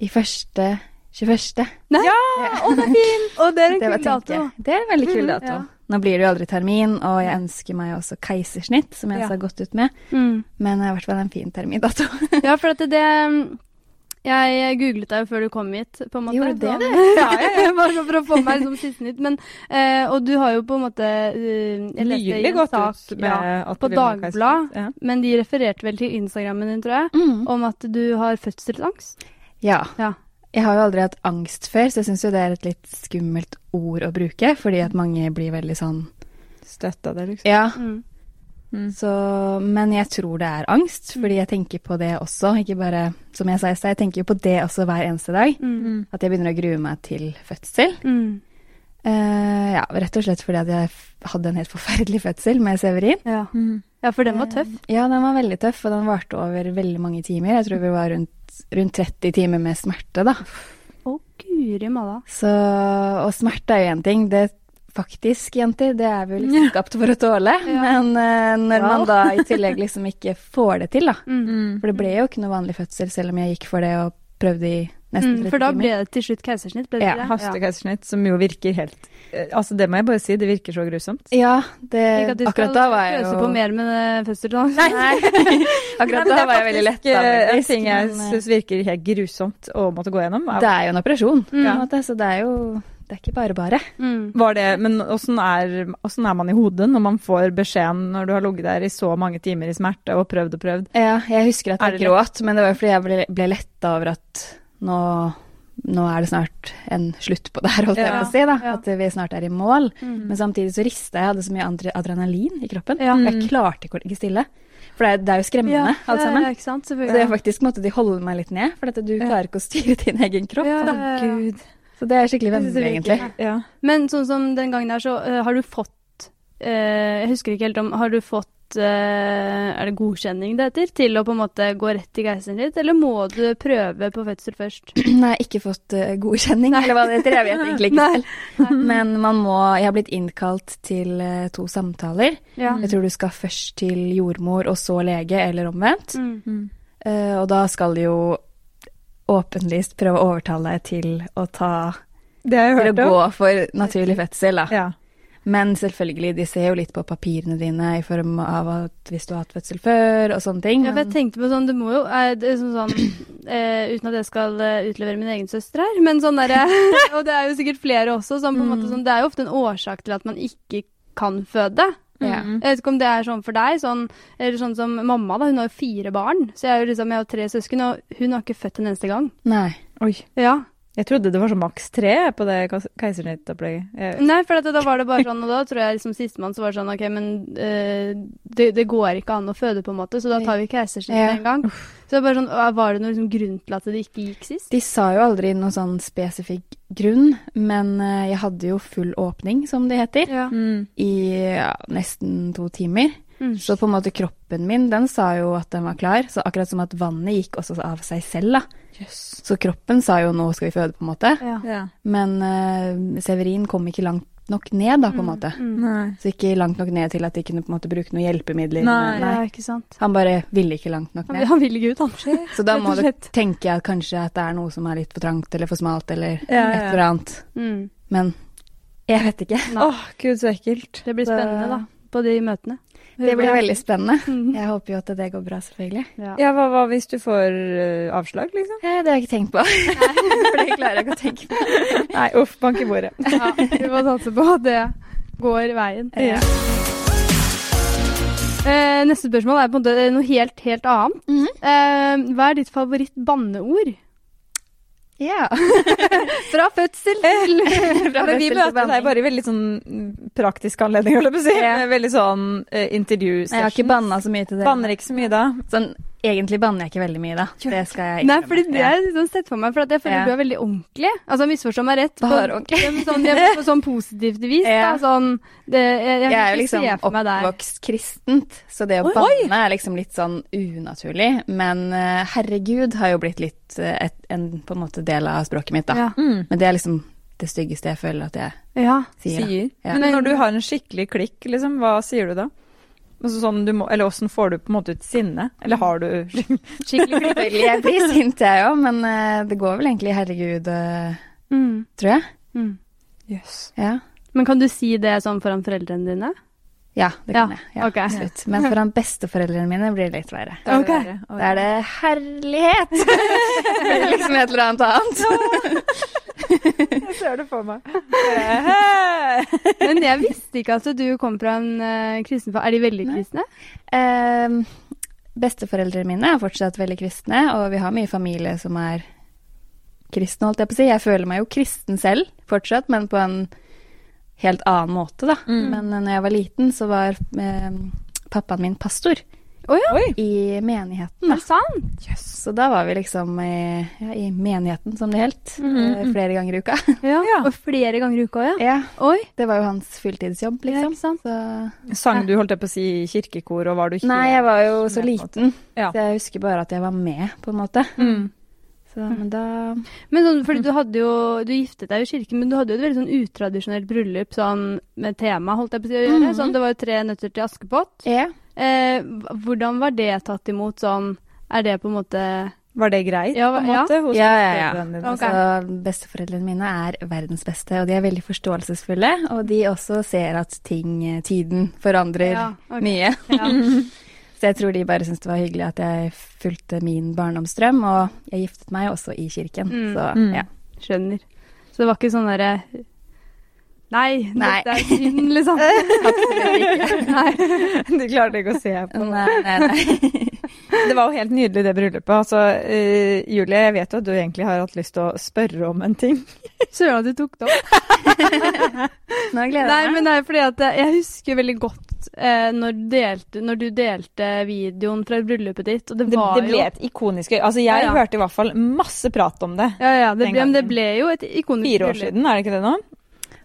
Speaker 3: i første 21.
Speaker 1: Nei? Ja! Å, det er fint! Og det er en
Speaker 3: Det var
Speaker 1: kul dato. Mm.
Speaker 3: tenke. Det er en veldig kul dato.
Speaker 1: ja.
Speaker 3: Nå blir det jo aldri termin, og jeg ønsker meg også keisersnitt, som jeg
Speaker 2: Ja.
Speaker 3: også har gått ut med.
Speaker 1: Mm.
Speaker 3: Men det er i hvert fall en fin termindato.
Speaker 1: Ja, for at det Jeg googlet deg jo før du kom hit, på en måte.
Speaker 3: Gjorde det,
Speaker 1: det? Ja, jeg var sånn for å få meg liksom siste nytt. Men, eh, og du har jo på en måte eh, jeg leste i
Speaker 2: Nylig
Speaker 1: en
Speaker 2: gått
Speaker 1: sak,
Speaker 2: ut med
Speaker 1: ja,
Speaker 2: at
Speaker 1: på
Speaker 2: det blir noe
Speaker 1: Dagbladet.
Speaker 2: kaiseritt.
Speaker 1: Men de refererte vel til Instagrammen din, tror jeg,
Speaker 3: Mm.
Speaker 1: om at du har fødselsangst.
Speaker 3: Ja.
Speaker 1: Ja.
Speaker 3: Jeg har jo aldri hatt angst før, så jeg syns jo det er et litt skummelt ord å bruke, fordi at mange blir veldig sånn
Speaker 2: Ja. Støtta det, liksom.
Speaker 3: Ja.
Speaker 1: Mm.
Speaker 2: Mm.
Speaker 3: Så, men jeg tror det er angst, fordi jeg tenker på det også. Ikke bare, som jeg sa i stad, jeg tenker jo på det også hver eneste dag.
Speaker 1: Mm.
Speaker 3: At jeg begynner å grue meg til fødsel.
Speaker 1: Mm.
Speaker 3: Eh, ja, rett og slett fordi at jeg f- hadde en helt forferdelig fødsel med Severin.
Speaker 1: Ja.
Speaker 2: Mm.
Speaker 1: ja, for den var tøff.
Speaker 3: Ja, den var veldig tøff, og den varte over veldig mange timer. Jeg tror vi var rundt, rundt 30 timer med smerte, da.
Speaker 1: Å, guri malla.
Speaker 3: Så, og smerte er jo én ting. Det faktisk, jenter, det er vi jo liksom skapt for å tåle. Men eh, når
Speaker 1: Wow.
Speaker 3: man da i tillegg liksom ikke får det til, da.
Speaker 2: Mm.
Speaker 3: For det ble jo ikke noe vanlig fødsel, selv om jeg gikk for det og prøvde i nesten 30
Speaker 1: Mm,
Speaker 3: timer.
Speaker 1: for da ble det til slutt keisersnitt, ble det
Speaker 3: Ja,
Speaker 1: ikke det?
Speaker 2: Hastekeisersnitt, som jo virker helt eh, Altså, det må jeg bare si, det virker så grusomt.
Speaker 3: Ja, det,
Speaker 1: Ikke at du
Speaker 3: akkurat da var jeg
Speaker 1: skal pøse
Speaker 3: jo
Speaker 1: på mer med det fødselsangst.
Speaker 3: Akkurat da var jeg veldig lett
Speaker 2: Det er
Speaker 3: faktisk,
Speaker 2: en ting jeg
Speaker 3: men, eh,
Speaker 2: syns virker helt grusomt å måtte gå gjennom.
Speaker 3: Det er jo en operasjon, på
Speaker 1: Ja.
Speaker 3: en måte, så det er jo det er ikke bare bare.
Speaker 1: Mm.
Speaker 2: Var det, men åssen er, åssen er man i hodet når man får beskjeden når du har ligget der i så mange timer i smerte og prøvd og prøvd?
Speaker 3: Ja, jeg husker at
Speaker 2: Er
Speaker 3: jeg
Speaker 2: det
Speaker 3: gråt, men det var jo fordi jeg ble, ble letta over at nå, nå er det snart en slutt på det her, holdt jeg
Speaker 2: Ja,
Speaker 3: på å si. da,
Speaker 1: ja.
Speaker 3: At vi snart er i mål.
Speaker 1: Mm.
Speaker 3: Men samtidig så rista jeg, jeg hadde så mye andre- adrenalin i kroppen.
Speaker 1: Ja.
Speaker 3: og Jeg klarte ikke å ligge stille. For det er, det er jo skremmende, alt sammen.
Speaker 1: Ja, ikke sant,
Speaker 3: Så jeg
Speaker 1: selvfølgelig.
Speaker 3: faktisk måtte de holde meg litt ned, for at du klarer ikke å styre din egen kropp.
Speaker 1: Ja,
Speaker 3: da.
Speaker 1: ja, ja.
Speaker 2: Gud.
Speaker 3: Så det er skikkelig
Speaker 2: Jeg synes det
Speaker 3: vemmelig, egentlig.
Speaker 2: virker- Ja.
Speaker 1: Men sånn som den gangen der, så øh, har du fått øh, Jeg husker ikke helt om Har du fått øh, Er det godkjenning det heter? Til å på en måte gå rett i keisersnitt, eller må du prøve på fødsel først?
Speaker 3: Nei, ikke fått eh, godkjenning, eller hva det heter. Jeg vet egentlig ikke selv. Men man må Jeg har blitt innkalt til eh, to samtaler.
Speaker 1: Ja.
Speaker 3: Jeg tror du skal først til jordmor og så lege, eller omvendt.
Speaker 1: Mm.
Speaker 3: Eh, og da skal du jo åpenlyst prøve å overtale deg til å ta
Speaker 2: Det har jeg
Speaker 3: Til å
Speaker 2: hørt om.
Speaker 3: gå for naturlig fødsel, da.
Speaker 2: Ja.
Speaker 3: Men selvfølgelig, de ser jo litt på papirene dine i form av at hvis du har hatt fødsel før og sånne ting.
Speaker 1: Ja, for jeg tenkte på sånn, det må jo eh, det er sånn, sånn eh, Uten at jeg skal eh, utlevere min egen søster her, men sånn derre Og det er jo sikkert flere også. Sånn, på en
Speaker 3: Mm.
Speaker 1: måte, sånn, det er jo ofte en årsak til at man ikke kan føde.
Speaker 3: Ja.
Speaker 1: Jeg vet ikke om det er sånn for deg, sånn, eller sånn som mamma, da. Hun har jo fire barn. Så jeg, er jo liksom, jeg har tre søsken, og hun har ikke født en eneste gang.
Speaker 3: Nei.
Speaker 2: Oi.
Speaker 1: Ja.
Speaker 2: Jeg trodde det var sånn maks tre på det kas- keisersnittopplegget.
Speaker 3: Mm,
Speaker 2: Jeg-
Speaker 1: Nei, for at, da var det bare sånn, og da tror jeg liksom sistemann så var det sånn OK, men eh, det, det går ikke an å føde, på en måte, så da tar vi keisersnitt med
Speaker 3: Ja.
Speaker 1: en gang. Så det er bare sånn, Var det noen liksom, grunn til at det ikke gikk sist?
Speaker 3: De sa jo aldri noen sånn spesifikk grunn, men eh, jeg hadde jo full åpning, som det heter,
Speaker 1: Ja.
Speaker 2: Mm.
Speaker 3: i ja, nesten to timer.
Speaker 1: Mm.
Speaker 3: Så på en måte kroppen min, den sa jo at den var klar, så akkurat som at vannet gikk også av seg selv, da.
Speaker 2: Jøss.
Speaker 3: Så kroppen sa jo 'nå skal vi føde', på en måte.
Speaker 1: Ja.
Speaker 2: Ja.
Speaker 3: Men eh, Severin kom ikke langt nok ned,
Speaker 1: Mm.
Speaker 3: da, på en måte. Mm.
Speaker 2: Nei.
Speaker 3: Så ikke langt nok ned til at de kunne på en måte bruke noen hjelpemidler. eh,
Speaker 2: Nei.
Speaker 1: Ja, ikke sant.
Speaker 3: Han bare ville ikke langt nok
Speaker 1: Han,
Speaker 3: ned.
Speaker 1: han vil ikke ut, han.
Speaker 3: Så da
Speaker 1: rett
Speaker 3: må
Speaker 1: og
Speaker 3: du
Speaker 1: slett.
Speaker 3: tenke at kanskje at det er noe som er litt for trangt eller for smalt eller
Speaker 2: Ja, ja,
Speaker 3: et
Speaker 2: ja.
Speaker 3: eller annet.
Speaker 1: Mm.
Speaker 3: Men jeg vet ikke.
Speaker 1: Nei.
Speaker 2: Åh, gud, så ekkelt.
Speaker 1: Det blir spennende, da. På de møtene.
Speaker 3: Det blir veldig spennende. Jeg håper jo at det går bra, selvfølgelig.
Speaker 1: Mm. Ja.
Speaker 2: Ja, hva, hva hvis du får eh, avslag, liksom?
Speaker 3: Eh, Det har jeg ikke tenkt på. For det klarer jeg ikke å tenke på.
Speaker 2: Nei, uff, bank i bordet.
Speaker 1: Ja, vi må satse på at det går veien.
Speaker 3: Ja.
Speaker 1: Eh, neste spørsmål er på en måte eh, noe helt, helt annet.
Speaker 3: Mhm.
Speaker 1: Eh, hva er ditt favoritt-banneord?
Speaker 3: Ja.
Speaker 1: Fra fødsel til
Speaker 3: Bra
Speaker 2: Men vi
Speaker 3: fødsel til
Speaker 2: møter
Speaker 3: banning.
Speaker 2: deg bare i veldig sånn mm, praktisk anledning, holdt jeg på å si.
Speaker 3: Ja.
Speaker 2: Veldig sånn uh, intervju
Speaker 3: Jeg har ikke
Speaker 2: session.
Speaker 3: banna så mye til dere.
Speaker 2: Banner ikke så mye da.
Speaker 3: Sånn, egentlig banner jeg ikke veldig mye, da. Det skal jeg
Speaker 1: Nei,
Speaker 3: innrømme.
Speaker 1: fordi det har jeg liksom sett for meg, for at jeg føler
Speaker 3: Ja.
Speaker 1: du er veldig ordentlig. Altså, misforstå meg rett. på-
Speaker 3: Bare ordentlig.
Speaker 1: Ja, men Sånn, ja, på sånn positivt vis.
Speaker 3: Ja.
Speaker 1: Da, sånn, det, jeg, jeg,
Speaker 3: Jeg er
Speaker 1: kan
Speaker 3: jo
Speaker 1: ikke
Speaker 3: liksom
Speaker 1: se for meg der.
Speaker 3: oppvokst kristent, så det å
Speaker 1: Oi.
Speaker 3: banne er liksom litt sånn unaturlig. Men eh, herregud har jo blitt litt eh, et, en på en måte del av språket mitt, da.
Speaker 1: Ja.
Speaker 3: Men det er liksom det styggeste jeg føler at jeg
Speaker 1: Ja.
Speaker 3: sier. da. Ja.
Speaker 2: Men når du har en skikkelig klikk, liksom, hva sier du da? Altså sånn du må, eller åssen får du på en måte ut sinne? Eller har du
Speaker 3: Skikkelig selvfølgelig. Jeg blir sint, jeg òg, men eh, det går vel egentlig herregud, eh,
Speaker 1: Mm,
Speaker 3: tror jeg.
Speaker 1: mm.
Speaker 2: Jøss.
Speaker 3: Ja.
Speaker 1: Men kan du si det sånn foran foreldrene dine?
Speaker 3: Ja, det
Speaker 1: Ja,
Speaker 3: kan jeg. Ja,
Speaker 1: ok.
Speaker 3: absolutt. Men foran besteforeldrene mine blir det litt verre.
Speaker 2: Da er
Speaker 1: Ok.
Speaker 2: det verre. Oi.
Speaker 3: Da er det herlighet! Det blir liksom et eller annet annet.
Speaker 2: Jeg ser det for meg. Bare,
Speaker 1: Men jeg visste ikke at du kom fra en eh, kristen familie. Er de veldig
Speaker 3: Nei.
Speaker 1: kristne?
Speaker 3: Ehm, besteforeldrene mine er fortsatt veldig kristne, og vi har mye familie som er kristne, holdt jeg på å si. Jeg føler meg jo kristen selv fortsatt, men på en helt annen måte, da.
Speaker 2: Mm.
Speaker 3: Men eh, når jeg var liten, så var ehm, pappaen min pastor
Speaker 1: Å ja,
Speaker 2: Oi.
Speaker 3: i menigheten.
Speaker 1: er det sant?
Speaker 3: Så da var vi liksom i, ja, i menigheten, som det het,
Speaker 2: Mhm.
Speaker 3: eh, flere ganger i uka.
Speaker 1: Ja.
Speaker 2: Ja.
Speaker 1: Og flere ganger i uka, ja.
Speaker 3: ja,
Speaker 1: Oi,
Speaker 3: det var jo hans fulltidsjobb,
Speaker 1: ja,
Speaker 3: liksom.
Speaker 1: ikke sant?
Speaker 3: Så,
Speaker 2: Sang du, holdt jeg på å si, i kirkekor, og var du
Speaker 3: nei, jeg var jo
Speaker 2: med på
Speaker 3: så
Speaker 2: det.
Speaker 3: liten,
Speaker 2: Ja.
Speaker 3: så jeg husker bare at jeg var med, på en måte.
Speaker 2: Mm.
Speaker 3: Så,
Speaker 1: Mhm.
Speaker 3: men da
Speaker 1: Men sånn,
Speaker 3: Mm.
Speaker 1: fordi du hadde jo Du giftet deg jo i kirken, men du hadde jo et veldig sånn utradisjonelt bryllup sånn med tema, holdt jeg på å si, å gjøre.
Speaker 3: Mhm.
Speaker 1: Sånn, det var jo tre nøtter til Askepott.
Speaker 3: Ja.
Speaker 1: Eh, hva- hvordan var det tatt imot sånn Er det på en måte
Speaker 2: Var det greit,
Speaker 1: Ja,
Speaker 2: på en
Speaker 1: ja.
Speaker 2: måte? hos
Speaker 3: Ja, ja, ja.
Speaker 2: foreldrene dine?
Speaker 1: Ok.
Speaker 3: Så altså, besteforeldrene mine er verdens beste, og de er veldig forståelsesfulle. Og de også ser at ting, eh, tiden forandrer
Speaker 1: Ja, ok.
Speaker 3: mye.
Speaker 1: ja.
Speaker 3: Så jeg tror de bare syntes det var hyggelig at jeg fulgte min barndomsdrøm, og jeg giftet meg også i kirken.
Speaker 1: Mm.
Speaker 3: Så
Speaker 2: Mm.
Speaker 3: ja.
Speaker 1: Skjønner. Så det var ikke sånn derre Nei,
Speaker 3: Nei.
Speaker 1: dette er synd, liksom. Nei.
Speaker 2: Du klarte ikke å se på det.
Speaker 3: Nei, nei, nei.
Speaker 2: Det var jo helt nydelig, det bryllupet. Altså, eh, Julie, jeg vet jo at du egentlig har hatt lyst til å spørre om en ting.
Speaker 1: Søren at du tok det opp.
Speaker 3: Nå gleder
Speaker 1: Nei,
Speaker 3: jeg meg.
Speaker 1: men det er fordi at jeg- jeg husker veldig godt eh, når, du delte, når du delte videoen fra bryllupet ditt, og det
Speaker 2: Det,
Speaker 1: var
Speaker 2: det ble
Speaker 1: jo
Speaker 2: et ikonisk øy- Altså, jeg
Speaker 1: Ja, ja.
Speaker 2: hørte i hvert fall masse prat om det.
Speaker 1: ja, ja, det
Speaker 2: den
Speaker 1: ble, men det
Speaker 2: gangen.
Speaker 1: ble jo et ikonisk
Speaker 2: Fire år
Speaker 1: bryllup.
Speaker 2: siden, er det ikke det nå?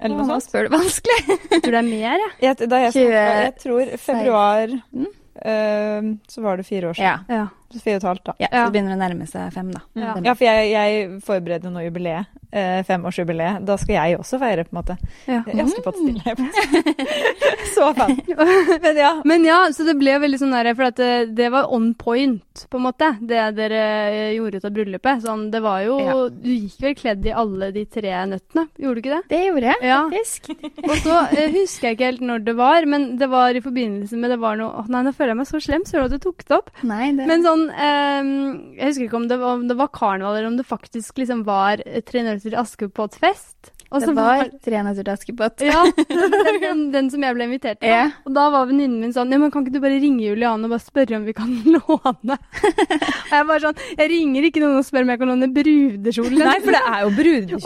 Speaker 2: Eller
Speaker 3: Åh,
Speaker 2: noe
Speaker 3: Nå
Speaker 2: sånt.
Speaker 3: spør du vanskelig.
Speaker 1: Jeg tror det er mer, jeg.
Speaker 2: Jeg, da jeg,
Speaker 3: Tjue-
Speaker 2: snakket- jeg tror februar
Speaker 3: Mm.
Speaker 2: eh, Så var det fire år siden.
Speaker 3: Ja.
Speaker 1: Ja.
Speaker 2: Fire og et halvt, da.
Speaker 3: ja,
Speaker 1: Ja.
Speaker 3: så begynner det å nærme seg fem, da.
Speaker 1: Ja.
Speaker 3: Fem.
Speaker 2: Ja, for jeg, jeg forbereder nå jubileet. Eh, femårsjubileet. Da skal jeg også feire, på en måte.
Speaker 1: Ja.
Speaker 2: Jeg skal på et stille. Så fan. Men ja.
Speaker 1: Men ja, så det ble veldig sånn der, for at det, det var on point, på en måte, det dere eh, gjorde ut av bryllupet. Sånn, det var jo
Speaker 3: Ja.
Speaker 1: Du gikk vel kledd i alle de tre nøttene, gjorde du ikke det?
Speaker 3: Det gjorde jeg,
Speaker 1: Ja.
Speaker 3: faktisk.
Speaker 1: Og så eh, husker jeg ikke helt når det var, men det var i forbindelse med det var noe Åh, Nei, nå føler jeg meg så slem, søren at du tok det opp.
Speaker 3: Nei, det
Speaker 1: Men sånn ehm, Jeg husker ikke om det, var, om det var karneval, eller om det faktisk liksom var eh, Tre nøtter til Askepott-fest. Og så
Speaker 3: det var tre nøtter til Askepott.
Speaker 1: Ja, den, den, den som jeg ble invitert til.
Speaker 3: Ja.
Speaker 1: Og da var venninnen min sånn Ja, men kan ikke du bare ringe Juliane og bare spørre om vi kan låne? og jeg bare sånn Jeg ringer ikke noen og spør om jeg kan låne liksom. brudekjolen.
Speaker 2: Nei, for det er jo brudekjole.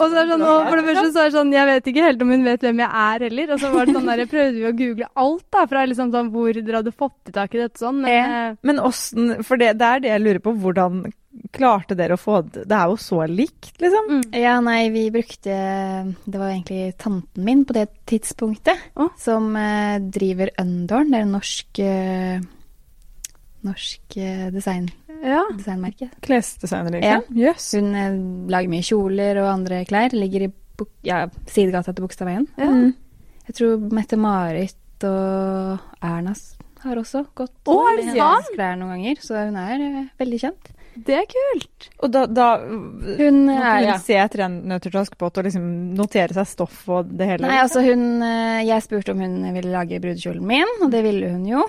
Speaker 1: Og så er det sånn, og for det første så er det sånn, jeg vet ikke helt om hun vet hvem jeg er heller. Og så var det sånn der, jeg prøvde vi å google alt da, fra liksom sånn hvor dere hadde fått i tak i dette sånn. Men
Speaker 3: Ja.
Speaker 1: eh,
Speaker 2: Men åssen For det, det er det jeg lurer på. Hvordan klarte dere å få det Det er jo så likt, liksom.
Speaker 1: mm.
Speaker 3: Ja, nei, vi brukte Det var egentlig tanten min på det tidspunktet
Speaker 1: Å.
Speaker 3: som eh, driver Undorn. Det er en norsk eh, Norsk eh, design,
Speaker 1: ja.
Speaker 3: designmerke.
Speaker 2: Klesdesigner, liksom. Jøss.
Speaker 3: Hun eh, lager mye kjoler og andre klær. Ligger i Buk ja, sidegata til Bogstadveien.
Speaker 1: Ja.
Speaker 2: Mm.
Speaker 3: Jeg tror Mette-Marit og Erna s- har også gått
Speaker 1: Å, er det
Speaker 3: med
Speaker 1: sant?
Speaker 3: hennes klær noen ganger, så hun er eh, veldig kjent.
Speaker 1: Det er kult.
Speaker 2: Og da, da
Speaker 3: Hun eh,
Speaker 2: Måtte
Speaker 3: er
Speaker 2: hun
Speaker 3: ja.
Speaker 2: se etter en nøtter til Askepott og liksom notere seg stoff og det hele?
Speaker 3: altså, Nei, altså hun eh, Jeg spurte om hun ville lage brudekjolen min, og det ville hun jo.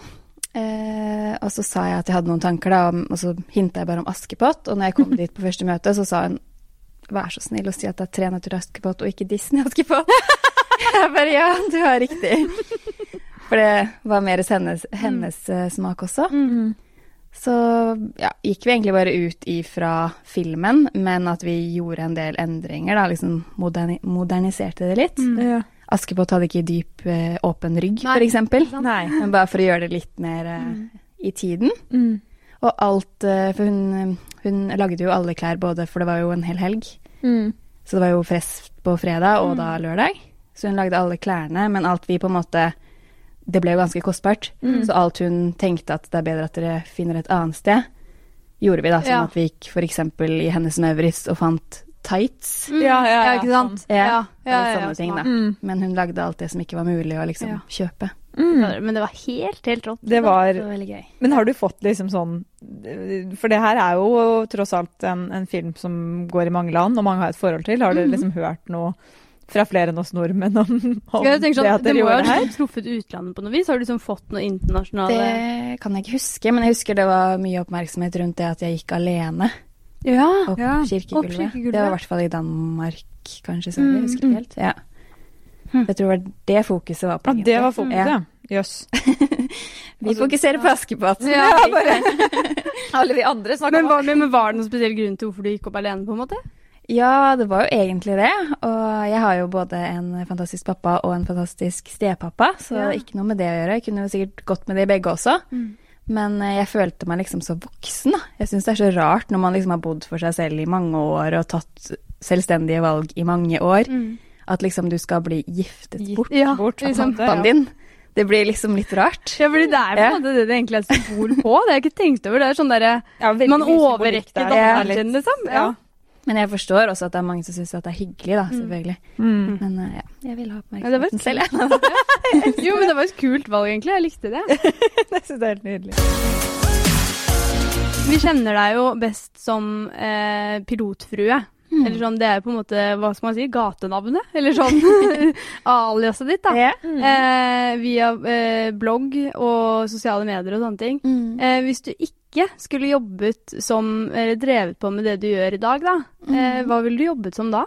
Speaker 3: Eh, og så sa jeg at jeg hadde noen tanker, da, om- og så hinta jeg bare om Askepott. Og når jeg kom dit på første møte, så sa hun vær så snill å si at det er 'Tre nøtter til Askepott' og ikke 'Disney Askepott'. jeg bare ja, du har riktig. For det var mer hennes, hennes eh, smak også. Så ja, gikk vi egentlig bare ut ifra filmen, men at vi gjorde en del endringer, da. Liksom moderni moderniserte det litt.
Speaker 1: mm.
Speaker 2: Ja.
Speaker 3: Askepott hadde ikke dyp, eh, åpen rygg,
Speaker 1: Nei, Mm.
Speaker 3: f.eks.
Speaker 2: Nei.
Speaker 3: Men bare for å gjøre det litt mer eh, i tiden. Og alt eh, For hun, hun lagde jo alle klær både, for det var jo en hel helg.
Speaker 2: Mm.
Speaker 3: Så det var jo fest på fredag og
Speaker 1: Mm.
Speaker 3: da lørdag. Så hun lagde alle klærne, men alt vi på en måte Det ble jo ganske kostbart.
Speaker 1: Mm.
Speaker 3: Så alt hun tenkte at det er bedre at dere finner et annet sted, gjorde vi da. Sånn
Speaker 1: Ja.
Speaker 3: at vi gikk f.eks. i hennes Mauritz og fant tights.
Speaker 1: Mm.
Speaker 2: Ja, ja, ja, sånn.
Speaker 1: ikke sant?
Speaker 3: Ja, eller sånne ting,
Speaker 1: smart.
Speaker 3: da. Men hun lagde alt det som ikke var mulig å liksom
Speaker 1: Ja.
Speaker 3: kjøpe.
Speaker 1: Men det var helt, helt rått.
Speaker 2: Det var-
Speaker 1: det var veldig gøy.
Speaker 2: Mm. Men har du fått liksom sånn For det her er jo tross alt en, en film som går i mange land, og mange har et forhold til. Har du liksom hørt noe fra flere enn oss nordmenn om, om
Speaker 1: Jeg tenker
Speaker 2: det
Speaker 1: sånn,
Speaker 2: at
Speaker 1: det
Speaker 2: dere
Speaker 1: må jo
Speaker 2: gjorde det
Speaker 1: ha
Speaker 2: her?
Speaker 1: truffet utlandet på noe vis? Har du liksom fått noe internasjonale
Speaker 3: Det kan jeg ikke huske, men jeg husker det var mye oppmerksomhet rundt det at jeg gikk alene
Speaker 1: Ja.
Speaker 3: opp
Speaker 2: Ja,
Speaker 3: kirkegulvet.
Speaker 2: opp kirkegulvet.
Speaker 3: Det var i hvert fall i Danmark, kanskje, så jeg husker ikke helt. Ja. Jeg tror det var det fokuset var på.
Speaker 2: Ja, det var fokuset.
Speaker 3: Ja.
Speaker 2: ja. Jøss.
Speaker 3: Vi fokuserer på Askepott.
Speaker 1: Ja,
Speaker 2: Alle vi andre
Speaker 1: men, var, men var det noen spesiell grunn til hvorfor du gikk opp alene, på en måte?
Speaker 3: Ja, det var jo egentlig det. Og jeg har jo både en fantastisk pappa og en fantastisk stepappa, så
Speaker 1: Ja.
Speaker 3: ikke noe med det å gjøre. Jeg kunne jo sikkert gått med de begge også. Men eh, jeg følte meg liksom så voksen, da. Jeg syns det er så rart når man liksom har bodd for seg selv i mange år og tatt selvstendige valg i mange år,
Speaker 1: Mm.
Speaker 2: Mm.
Speaker 3: at liksom du skal bli giftet
Speaker 2: Gift
Speaker 3: bort
Speaker 1: Ja,
Speaker 2: bort
Speaker 3: av
Speaker 2: liksom.
Speaker 3: pappaen din. Det blir liksom litt rart.
Speaker 1: Ja, fordi det er på en
Speaker 3: Ja.
Speaker 1: måte det det egentlig er et symbol på. Det har jeg ikke tenkt over. Det er sånn derre
Speaker 2: Ja, veldig
Speaker 1: Man
Speaker 2: mye symbolikk
Speaker 1: overrekker
Speaker 2: der.
Speaker 1: datteren
Speaker 2: Det er
Speaker 1: sin,
Speaker 2: litt-
Speaker 1: liksom. Ja.
Speaker 2: ja.
Speaker 3: Men jeg forstår også at det er mange som syns at det er hyggelig, da, selvfølgelig.
Speaker 2: Mm.
Speaker 3: Men eh, ja, jeg vil
Speaker 1: Ja,
Speaker 3: ha
Speaker 1: det var
Speaker 3: oppmerksomheten selv, jeg.
Speaker 1: Jo, men det var et kult valg, egentlig. Jeg likte det.
Speaker 2: Jeg synes det er helt nydelig.
Speaker 1: Vi kjenner deg jo best som eh, pilotfrue. Eller sånn, Det er på en måte hva skal man si, gatenavnet? Eller sånn aliaset ditt, da.
Speaker 2: Ja.
Speaker 1: Eh, via eh, blogg og sosiale medier og sånne ting.
Speaker 3: Mm.
Speaker 1: Eh, hvis du ikke skulle jobbet som, eller drevet på med det du gjør i dag, da, eh, hva ville du jobbet som da?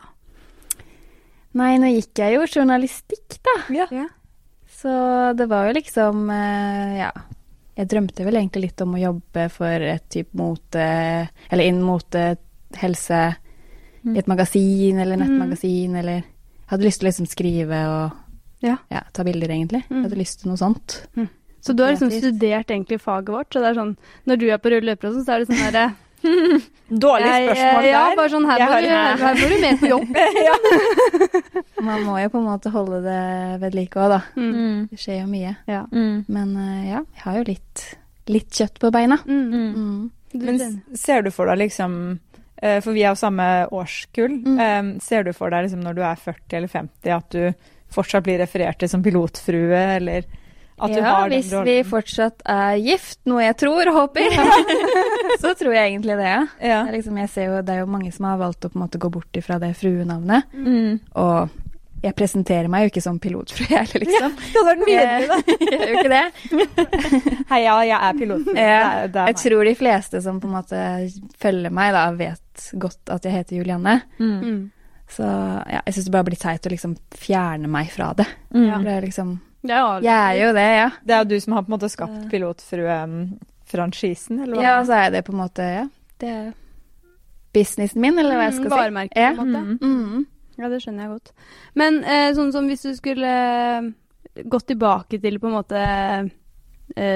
Speaker 3: Nei, nå gikk jeg jo journalistikk, da.
Speaker 2: Ja.
Speaker 3: Så det var jo liksom eh, Ja. Jeg drømte vel egentlig litt om å jobbe for et type mote Eller inn mote, helse I et magasin eller nettmagasin eller Jeg hadde lyst til å liksom skrive og
Speaker 1: Ja.
Speaker 3: ta bilder, egentlig. Jeg hadde lyst til noe sånt.
Speaker 1: Så du har liksom
Speaker 3: Kreativt.
Speaker 1: studert egentlig faget vårt, så det er sånn Når du er på rød løper og sånn, så er det sånn derre
Speaker 2: Dårlig spørsmål
Speaker 1: Ja,
Speaker 2: der.
Speaker 1: bare sånn her
Speaker 2: Jeg
Speaker 1: må,
Speaker 2: har-
Speaker 1: du, her må du med på jobb.
Speaker 3: Man må jo på en måte holde det ved like òg, da.
Speaker 2: Mm.
Speaker 3: Det skjer jo mye.
Speaker 1: Ja.
Speaker 3: Men eh, ja, jeg har jo litt, litt kjøtt på beina.
Speaker 1: Mm.
Speaker 3: Mm.
Speaker 1: Du,
Speaker 2: Men s- ser du for deg liksom eh, For vi er jo samme årskull. eh, Ser du for deg liksom når du er 40 eller 50 at du fortsatt blir referert til som pilotfrue, eller at du
Speaker 3: ja,
Speaker 2: har den
Speaker 3: hvis vi fortsatt er gift, noe jeg tror og håper, så tror jeg egentlig det, ja. Det
Speaker 2: Ja.
Speaker 3: er, liksom, jeg ser jo, det er jo mange som har valgt å på en måte gå bort ifra det fruenavnet.
Speaker 2: Mm.
Speaker 3: Og jeg presenterer meg jo ikke som pilotfrue heller,
Speaker 2: Ja,
Speaker 3: liksom.
Speaker 2: det hadde vært mye
Speaker 3: Jeg,
Speaker 2: bedre,
Speaker 3: jeg gjør jo ikke det.
Speaker 2: da. Hei, ja, jeg er pilotfrue.
Speaker 3: Jeg,
Speaker 2: det er
Speaker 3: jeg tror de fleste som på en måte følger meg, da, vet godt at jeg heter Julianne.
Speaker 1: Mm.
Speaker 3: Så ja, jeg syns det bare blir teit å liksom fjerne meg fra det.
Speaker 2: Mm.
Speaker 3: For det er liksom
Speaker 1: det er jo alt.
Speaker 3: Jeg er jo det, ja.
Speaker 2: Det er jo du som har på en måte skapt pilotfrue-franchisen, eller hva?
Speaker 3: Ja, og så er det på en måte Ja, det er businessen min, eller hva jeg skal
Speaker 1: Mm,
Speaker 3: si.
Speaker 1: Varemerke, på en måte.
Speaker 2: Mm.
Speaker 3: Mm.
Speaker 1: Ja, det skjønner jeg godt. Men eh, sånn som hvis du skulle eh, gått tilbake til på en måte eh,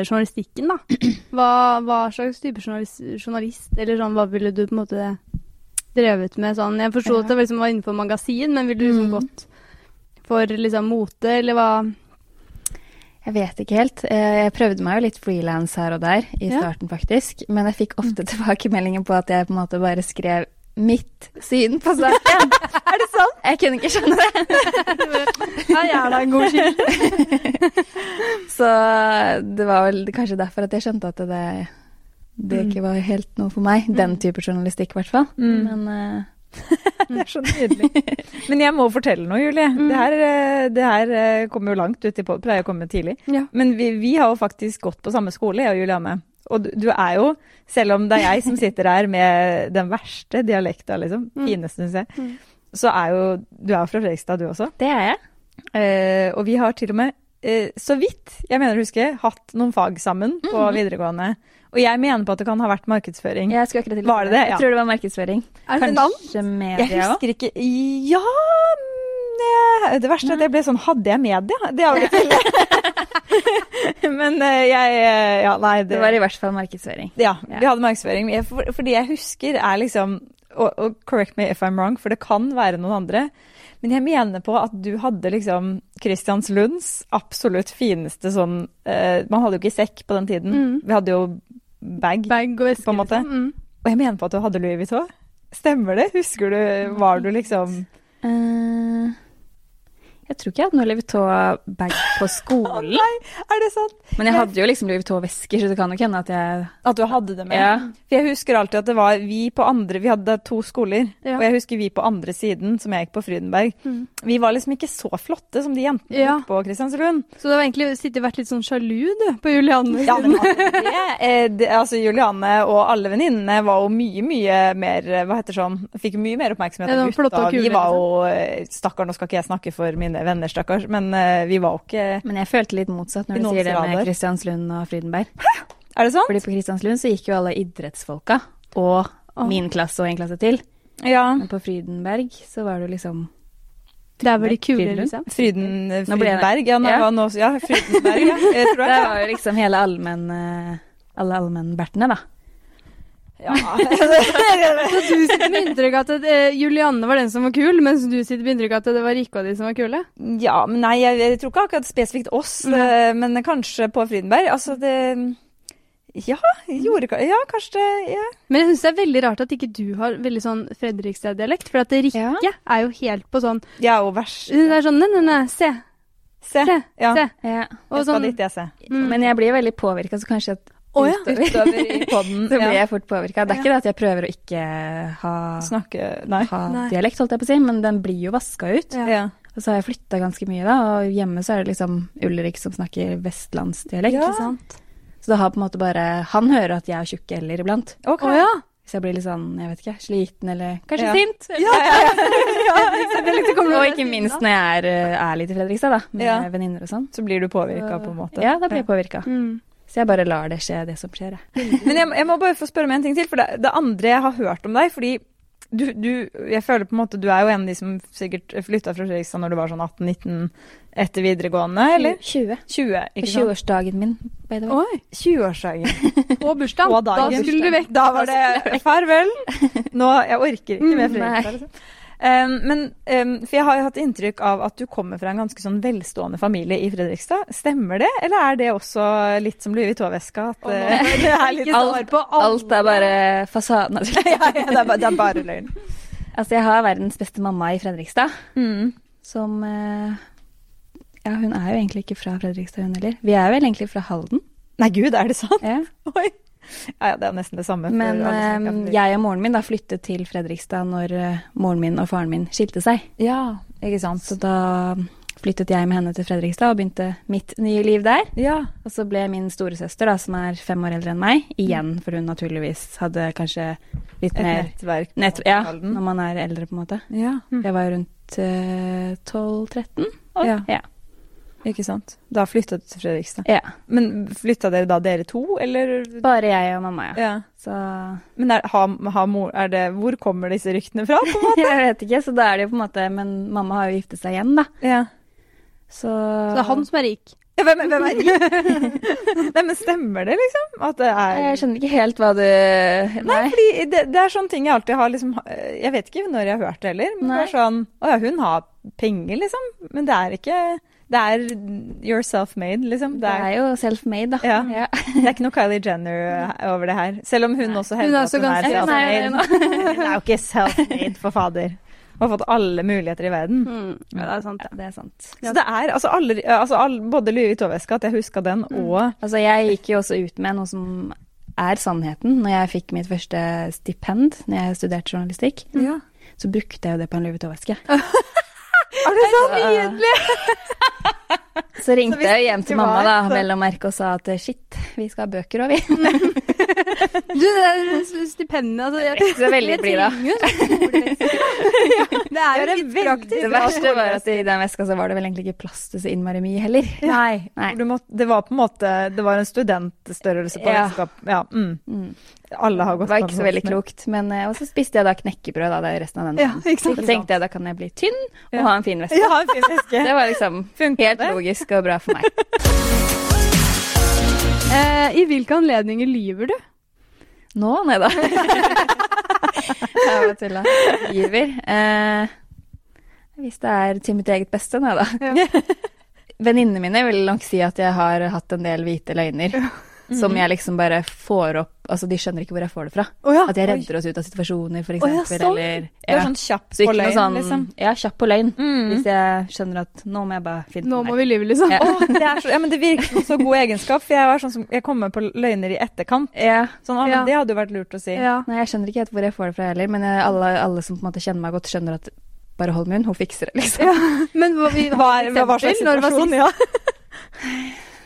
Speaker 1: journalistikken, da. Hva, hva slags type journalist, journalist, eller sånn, hva ville du på en måte drevet med sånn? Jeg forsto at det liksom var innenfor magasin, men ville du liksom gått for liksom mote, eller hva?
Speaker 3: Jeg vet ikke helt. Eh, Jeg prøvde meg jo litt frilans her og der i
Speaker 1: Ja.
Speaker 3: starten, faktisk. Men jeg fikk ofte tilbakemeldinger på at jeg på en måte bare skrev mitt syn på saken. er det sånn? Jeg kunne ikke skjønne det.
Speaker 1: Ja, jeg er da en god kilde.
Speaker 3: Så det var vel kanskje derfor at jeg skjønte at det,
Speaker 2: Mm.
Speaker 3: det ikke var helt noe for meg. Den type journalistikk, i hvert fall. Men eh,
Speaker 2: Det er så nydelig. Men jeg må fortelle noe, Julie. Det, her, eh, det her eh, kommer jo langt uti på, pleier å komme tidlig.
Speaker 1: Ja.
Speaker 2: Men vi, vi har jo faktisk gått på samme skole, jeg og Juliane. Og du, du er jo, selv om det er jeg som sitter her med den verste dialekta, liksom, fineste, syns jeg, så er jo du er jo fra Fredrikstad, du også.
Speaker 3: Det er jeg.
Speaker 2: Eh, og vi har til og med, eh, så vidt jeg mener å huske, hatt noen fag sammen på videregående. Og jeg mener på at det kan ha vært markedsføring.
Speaker 3: Jeg skulle akkurat til å
Speaker 2: Var det det? Ja.
Speaker 3: Jeg tror det var markedsføring.
Speaker 1: Er det sant?
Speaker 3: Kanskje media
Speaker 2: Jeg husker ikke Ja mm, eh, Det verste er at jeg ble sånn Hadde jeg media? Det har jeg ikke. Men eh, jeg eh, Ja, nei.
Speaker 3: Det var i hvert fall markedsføring.
Speaker 2: Ja, vi hadde markedsføring. Jeg- for- Fordi jeg husker er liksom og, og correct me if I'm wrong, for det kan være noen andre. Men jeg mener på at du hadde liksom Kristianslunds absolutt fineste sånn eh, Man hadde jo ikke sekk på den tiden. Vi hadde jo bag.
Speaker 1: Bag og veske.
Speaker 2: På en måte.
Speaker 1: liksom. Mm.
Speaker 2: Og jeg mener på at du hadde Louis Vuitton. Stemmer det? Husker du Var du liksom
Speaker 3: Eh, jeg tror ikke jeg hadde noe Louis Vuitton-bag på
Speaker 2: Å
Speaker 3: skolen.
Speaker 2: nei, er det sant?
Speaker 3: Men jeg hadde jo liksom Louis Vuitton-vesker, så det kan nok hende at jeg
Speaker 2: At du hadde det med?
Speaker 3: Ja.
Speaker 2: For jeg husker alltid at det var vi på andre Vi hadde to skoler,
Speaker 1: Ja.
Speaker 2: og jeg husker vi på andre siden, som jeg gikk på Frydenberg. Vi var liksom ikke så flotte som de jentene
Speaker 1: Ja.
Speaker 2: gikk på Kristiansund.
Speaker 1: Så du har egentlig sittet og vært litt sånn sjalu, du, på Julianne.
Speaker 2: Ja, men altså, det, eh, det, altså Juliane og alle venninnene var jo mye, mye mer eh, Hva heter det sånn Fikk mye mer oppmerksomhet
Speaker 1: Ja, de
Speaker 2: av
Speaker 1: var flotte
Speaker 2: gutta.
Speaker 1: og kule,
Speaker 2: Vi var jo eh, Stakkar, nå skal ikke jeg snakke for mine venner, stakkars, men eh, vi var jo ikke
Speaker 3: Men jeg følte litt motsatt
Speaker 2: I
Speaker 3: når du
Speaker 2: noen
Speaker 3: sier det med
Speaker 2: grader.
Speaker 3: Kristianslund og Frydenberg.
Speaker 2: Er det sånn?
Speaker 3: Fordi på Kristianslund så gikk jo alle idrettsfolka, og min klasse og en klasse til.
Speaker 2: Ja.
Speaker 3: Men på Frydenberg så var det jo liksom
Speaker 1: Det er vel de kule,
Speaker 3: Frydenlund.
Speaker 1: liksom.
Speaker 2: Fryden,
Speaker 3: Nå ble jeg-
Speaker 2: Frydenberg, ja. Nå,
Speaker 3: Ja.
Speaker 2: Nå, ja Frydenberg, ja. Jeg tror
Speaker 3: Det
Speaker 2: det.
Speaker 3: var jo liksom hele allmenn... eh, Alle allmennbertene, da.
Speaker 2: Ja.
Speaker 1: Så du sitter med inntrykk av at eh, Julianne var den som var kul, mens du sitter med inntrykk av at det var Rikke og de som var kule?
Speaker 2: Ja, men nei, jeg, jeg tror ikke akkurat spesifikt oss,
Speaker 1: Mm.
Speaker 2: eh, men kanskje på Frydenberg. Altså, det Ja, gjorde ka- Ja, kanskje det ja.
Speaker 1: Men jeg syns det er veldig rart at ikke du har veldig sånn Fredrikstad-dialekt, for at det Rikke
Speaker 3: Ja.
Speaker 1: er jo helt på sånn
Speaker 2: Jeg er jo verst.
Speaker 1: Hun er sånn nei, nei, nei, se,
Speaker 2: Se.
Speaker 1: se,
Speaker 2: Ja.
Speaker 1: se.
Speaker 3: Ja.
Speaker 1: Og
Speaker 2: Jeg skal
Speaker 1: sånn,
Speaker 2: dit, jeg, se.
Speaker 3: Men jeg blir veldig påvirka, så kanskje at
Speaker 1: Å, ja.
Speaker 2: Utover i podden.
Speaker 3: Så blir
Speaker 2: Ja.
Speaker 3: jeg fort påvirka. Det er ikke det at jeg prøver å ikke ha,
Speaker 2: Snakke Nei.
Speaker 3: ha
Speaker 1: Nei.
Speaker 3: dialekt, holdt jeg på å si, men den blir jo vaska ut.
Speaker 1: Ja.
Speaker 2: Ja.
Speaker 3: Og så har jeg flytta ganske mye, da, og hjemme så er det liksom Ulrik som snakker vestlandsdialekt. liksom.
Speaker 2: Ja.
Speaker 1: ikke sant?
Speaker 3: Så det har på en måte bare Han hører at jeg har tjukke l-er iblant.
Speaker 2: OK.
Speaker 1: Å ja.
Speaker 3: Hvis jeg blir litt sånn, jeg vet ikke, sliten eller kanskje
Speaker 2: Ja.
Speaker 3: sint. og ikke minst når jeg er, eh, er litt i Fredrikstad, da, med
Speaker 2: Ja.
Speaker 3: venninner og sånn.
Speaker 2: Så blir du påvirka, på en måte.
Speaker 3: Ja, da blir jeg påvirka.
Speaker 1: Mm.
Speaker 3: Så jeg bare lar det skje, det som skjer, jeg.
Speaker 2: Men jeg, jeg må bare få spørre om en ting til, for det, det andre jeg har hørt om deg fordi du, du, jeg føler på en måte, du er jo en av de som sikkert flytta fra Fredrikstad når du var sånn 18-19 etter videregående, eller?
Speaker 3: 20.
Speaker 2: 20,
Speaker 3: På
Speaker 2: ikke sant?
Speaker 3: 20-årsdagen min, by the way.
Speaker 1: Oi.
Speaker 2: 20-årsdagen.
Speaker 1: Og bursdagen.
Speaker 2: Og
Speaker 1: da
Speaker 2: dagen.
Speaker 1: skulle du vekk.
Speaker 2: Da var det farvel. Nå, jeg orker ikke mer
Speaker 3: Mm,
Speaker 2: Fredrikstad.
Speaker 3: nei.
Speaker 2: liksom. Um, men um, For jeg har jo hatt inntrykk av at du kommer fra en ganske sånn velstående familie i Fredrikstad. Stemmer det, eller er det også litt som Louis Vuitton-veska? At eh, det er litt sånn-
Speaker 1: Ikke svar på alt.
Speaker 3: Alt er bare fasaden. Altså.
Speaker 2: ja, ja, det, er bare, det er bare løgn.
Speaker 3: altså, jeg har verdens beste mamma i Fredrikstad, som eh, Ja, hun er jo egentlig ikke fra Fredrikstad, hun heller. Vi er vel egentlig fra Halden.
Speaker 2: Nei, gud, er det sant?
Speaker 3: Ja.
Speaker 2: Oi. Ja, ja, det er nesten det samme. for
Speaker 3: Men
Speaker 2: alle som ikke har
Speaker 3: eh,
Speaker 2: fått-
Speaker 3: jeg og moren min da flyttet til Fredrikstad når eh, moren min og faren min skilte seg.
Speaker 2: Ja, ikke sant.
Speaker 3: Så da flyttet jeg med henne til Fredrikstad og begynte mitt nye liv der.
Speaker 2: Ja.
Speaker 3: Og så ble min storesøster, da, som er fem år eldre enn meg, igjen, for hun naturligvis hadde kanskje litt
Speaker 2: Et
Speaker 3: mer
Speaker 2: nettverk. på
Speaker 3: nett, Ja,
Speaker 2: Halden.
Speaker 3: når man er eldre, på en måte.
Speaker 2: Ja.
Speaker 3: Jeg var jo rundt eh, 12-13.
Speaker 2: ja,
Speaker 3: Ja.
Speaker 2: ikke sant. Da flytta du til Fredrikstad.
Speaker 3: ja.
Speaker 2: Men flytta dere da dere to, eller?
Speaker 3: Bare jeg og mamma, ja.
Speaker 2: Ja.
Speaker 3: Så
Speaker 2: Men er, har, har mor, er det, hvor kommer disse ryktene fra? På?
Speaker 3: jeg vet ikke, så da er det jo på en måte Men mamma har jo giftet seg igjen, da.
Speaker 2: Ja.
Speaker 3: Så,
Speaker 1: Så det er han som er rik.
Speaker 2: Ja, Hvem, hvem er de? Nei, men stemmer det, liksom? At det er
Speaker 3: Jeg skjønner ikke helt hva du
Speaker 2: Nei, fordi det, det er sånne ting jeg alltid har liksom Jeg vet ikke når jeg har hørt det heller. Men det
Speaker 3: Nei.
Speaker 2: er sånn Å ja, hun har penger, liksom. Men det er ikke Det er you're self-made, liksom.
Speaker 3: Det
Speaker 2: Det
Speaker 3: er
Speaker 2: er,
Speaker 3: jo self-made, da.
Speaker 2: Ja.
Speaker 3: Ja.
Speaker 2: det er ikke noe Kylie Jenner eh, over det her. Selv om hun også
Speaker 1: Hun er
Speaker 2: hevder at
Speaker 1: også
Speaker 2: hun er
Speaker 1: ganske
Speaker 3: self-made.
Speaker 2: self-made. Hun er jo ikke self-made, for fader. Hun har fått alle muligheter i verden.
Speaker 1: Ja, det er sant.
Speaker 3: Ja, det er sant.
Speaker 2: Så det er altså, alle, altså all- både Louis Vuitton-veska, at jeg huska den, og
Speaker 3: Altså, jeg gikk jo også ut med noe som er sannheten, når jeg fikk mitt første stipend når jeg studerte journalistikk.
Speaker 2: ja.
Speaker 3: så brukte jeg jo det på en Louis Vuitton-veske.
Speaker 2: Er det så nydelig?
Speaker 3: Så ringte
Speaker 2: hvis
Speaker 3: jeg hjem til
Speaker 2: det var,
Speaker 3: mamma da,
Speaker 2: så-
Speaker 3: vel å merke, og sa at shit, vi skal ha bøker òg, vi.
Speaker 1: Du, det er s- stipendet altså, jeg,
Speaker 3: ikke så veldig
Speaker 1: jeg
Speaker 3: blid, da.
Speaker 1: trenger jo sånne skolevesker. Det er jo litt praktisk.
Speaker 3: Det verste var at i den veska så var det vel egentlig ikke plass til så innmari mye heller.
Speaker 2: Nei.
Speaker 3: Nei.
Speaker 2: Du må, det var på en måte Det var en studentstørrelse på
Speaker 3: Ja.
Speaker 2: vennskap. Ja. Mm.
Speaker 3: Mm.
Speaker 2: Alle har
Speaker 3: Det
Speaker 2: gått
Speaker 3: var ikke
Speaker 2: på
Speaker 3: så veldig
Speaker 2: pensjon.
Speaker 3: klokt. Men, eh, og så spiste jeg da knekkebrød da, det resten av den
Speaker 1: Ja,
Speaker 3: dagen.
Speaker 1: ikke sant?
Speaker 3: Da tenkte jeg da kan jeg bli tynn og
Speaker 2: Ja.
Speaker 3: ha en fin veske.
Speaker 2: Ja, en fin veske.
Speaker 3: Det var liksom
Speaker 2: Funket
Speaker 3: helt
Speaker 2: det?
Speaker 3: logisk og bra for meg.
Speaker 1: Eh, I hvilke anledninger lyver du?
Speaker 3: Nå, nei da. jeg bare tulla. Giver. Eh, hvis det er til mitt eget beste, nei da. Venninnene mine vil nok si at jeg har hatt en del hvite løgner. Som jeg liksom bare får opp Altså, de skjønner ikke hvor jeg får det fra.
Speaker 1: Å ja.
Speaker 3: At jeg redder oss ut av situasjoner, for
Speaker 1: Å
Speaker 3: eksempel.
Speaker 1: ja, sånn.
Speaker 3: Eller
Speaker 2: Det
Speaker 3: ja.
Speaker 2: var sånn kjapp
Speaker 3: Så
Speaker 2: på
Speaker 3: ikke noe
Speaker 2: løgn,
Speaker 3: sånn
Speaker 2: liksom.
Speaker 3: Ja, kjapp på løgn.
Speaker 2: Mm.
Speaker 3: Hvis jeg skjønner at nå må jeg bare finne
Speaker 1: Nå
Speaker 3: på
Speaker 1: må
Speaker 3: meg.
Speaker 1: vi lyve, liksom.
Speaker 3: Ja.
Speaker 1: Å,
Speaker 2: Åh, det, er så, ja, men det virker som så god egenskap. For jeg, var sånn som, jeg kommer på løgner i etterkant.
Speaker 3: Ja.
Speaker 2: Sånn, ah, men
Speaker 1: Ja.
Speaker 2: Det hadde jo vært lurt å si.
Speaker 1: ja.
Speaker 3: Nei, jeg skjønner ikke helt hvor jeg får det fra heller, men jeg, alle, alle som på en måte kjenner meg godt, skjønner at bare hold munn, hun fikser det, liksom.
Speaker 1: Men hva, vi,
Speaker 2: Hva, er- hva, hva slags
Speaker 1: Eksempel, når var
Speaker 2: situasjon? Ja.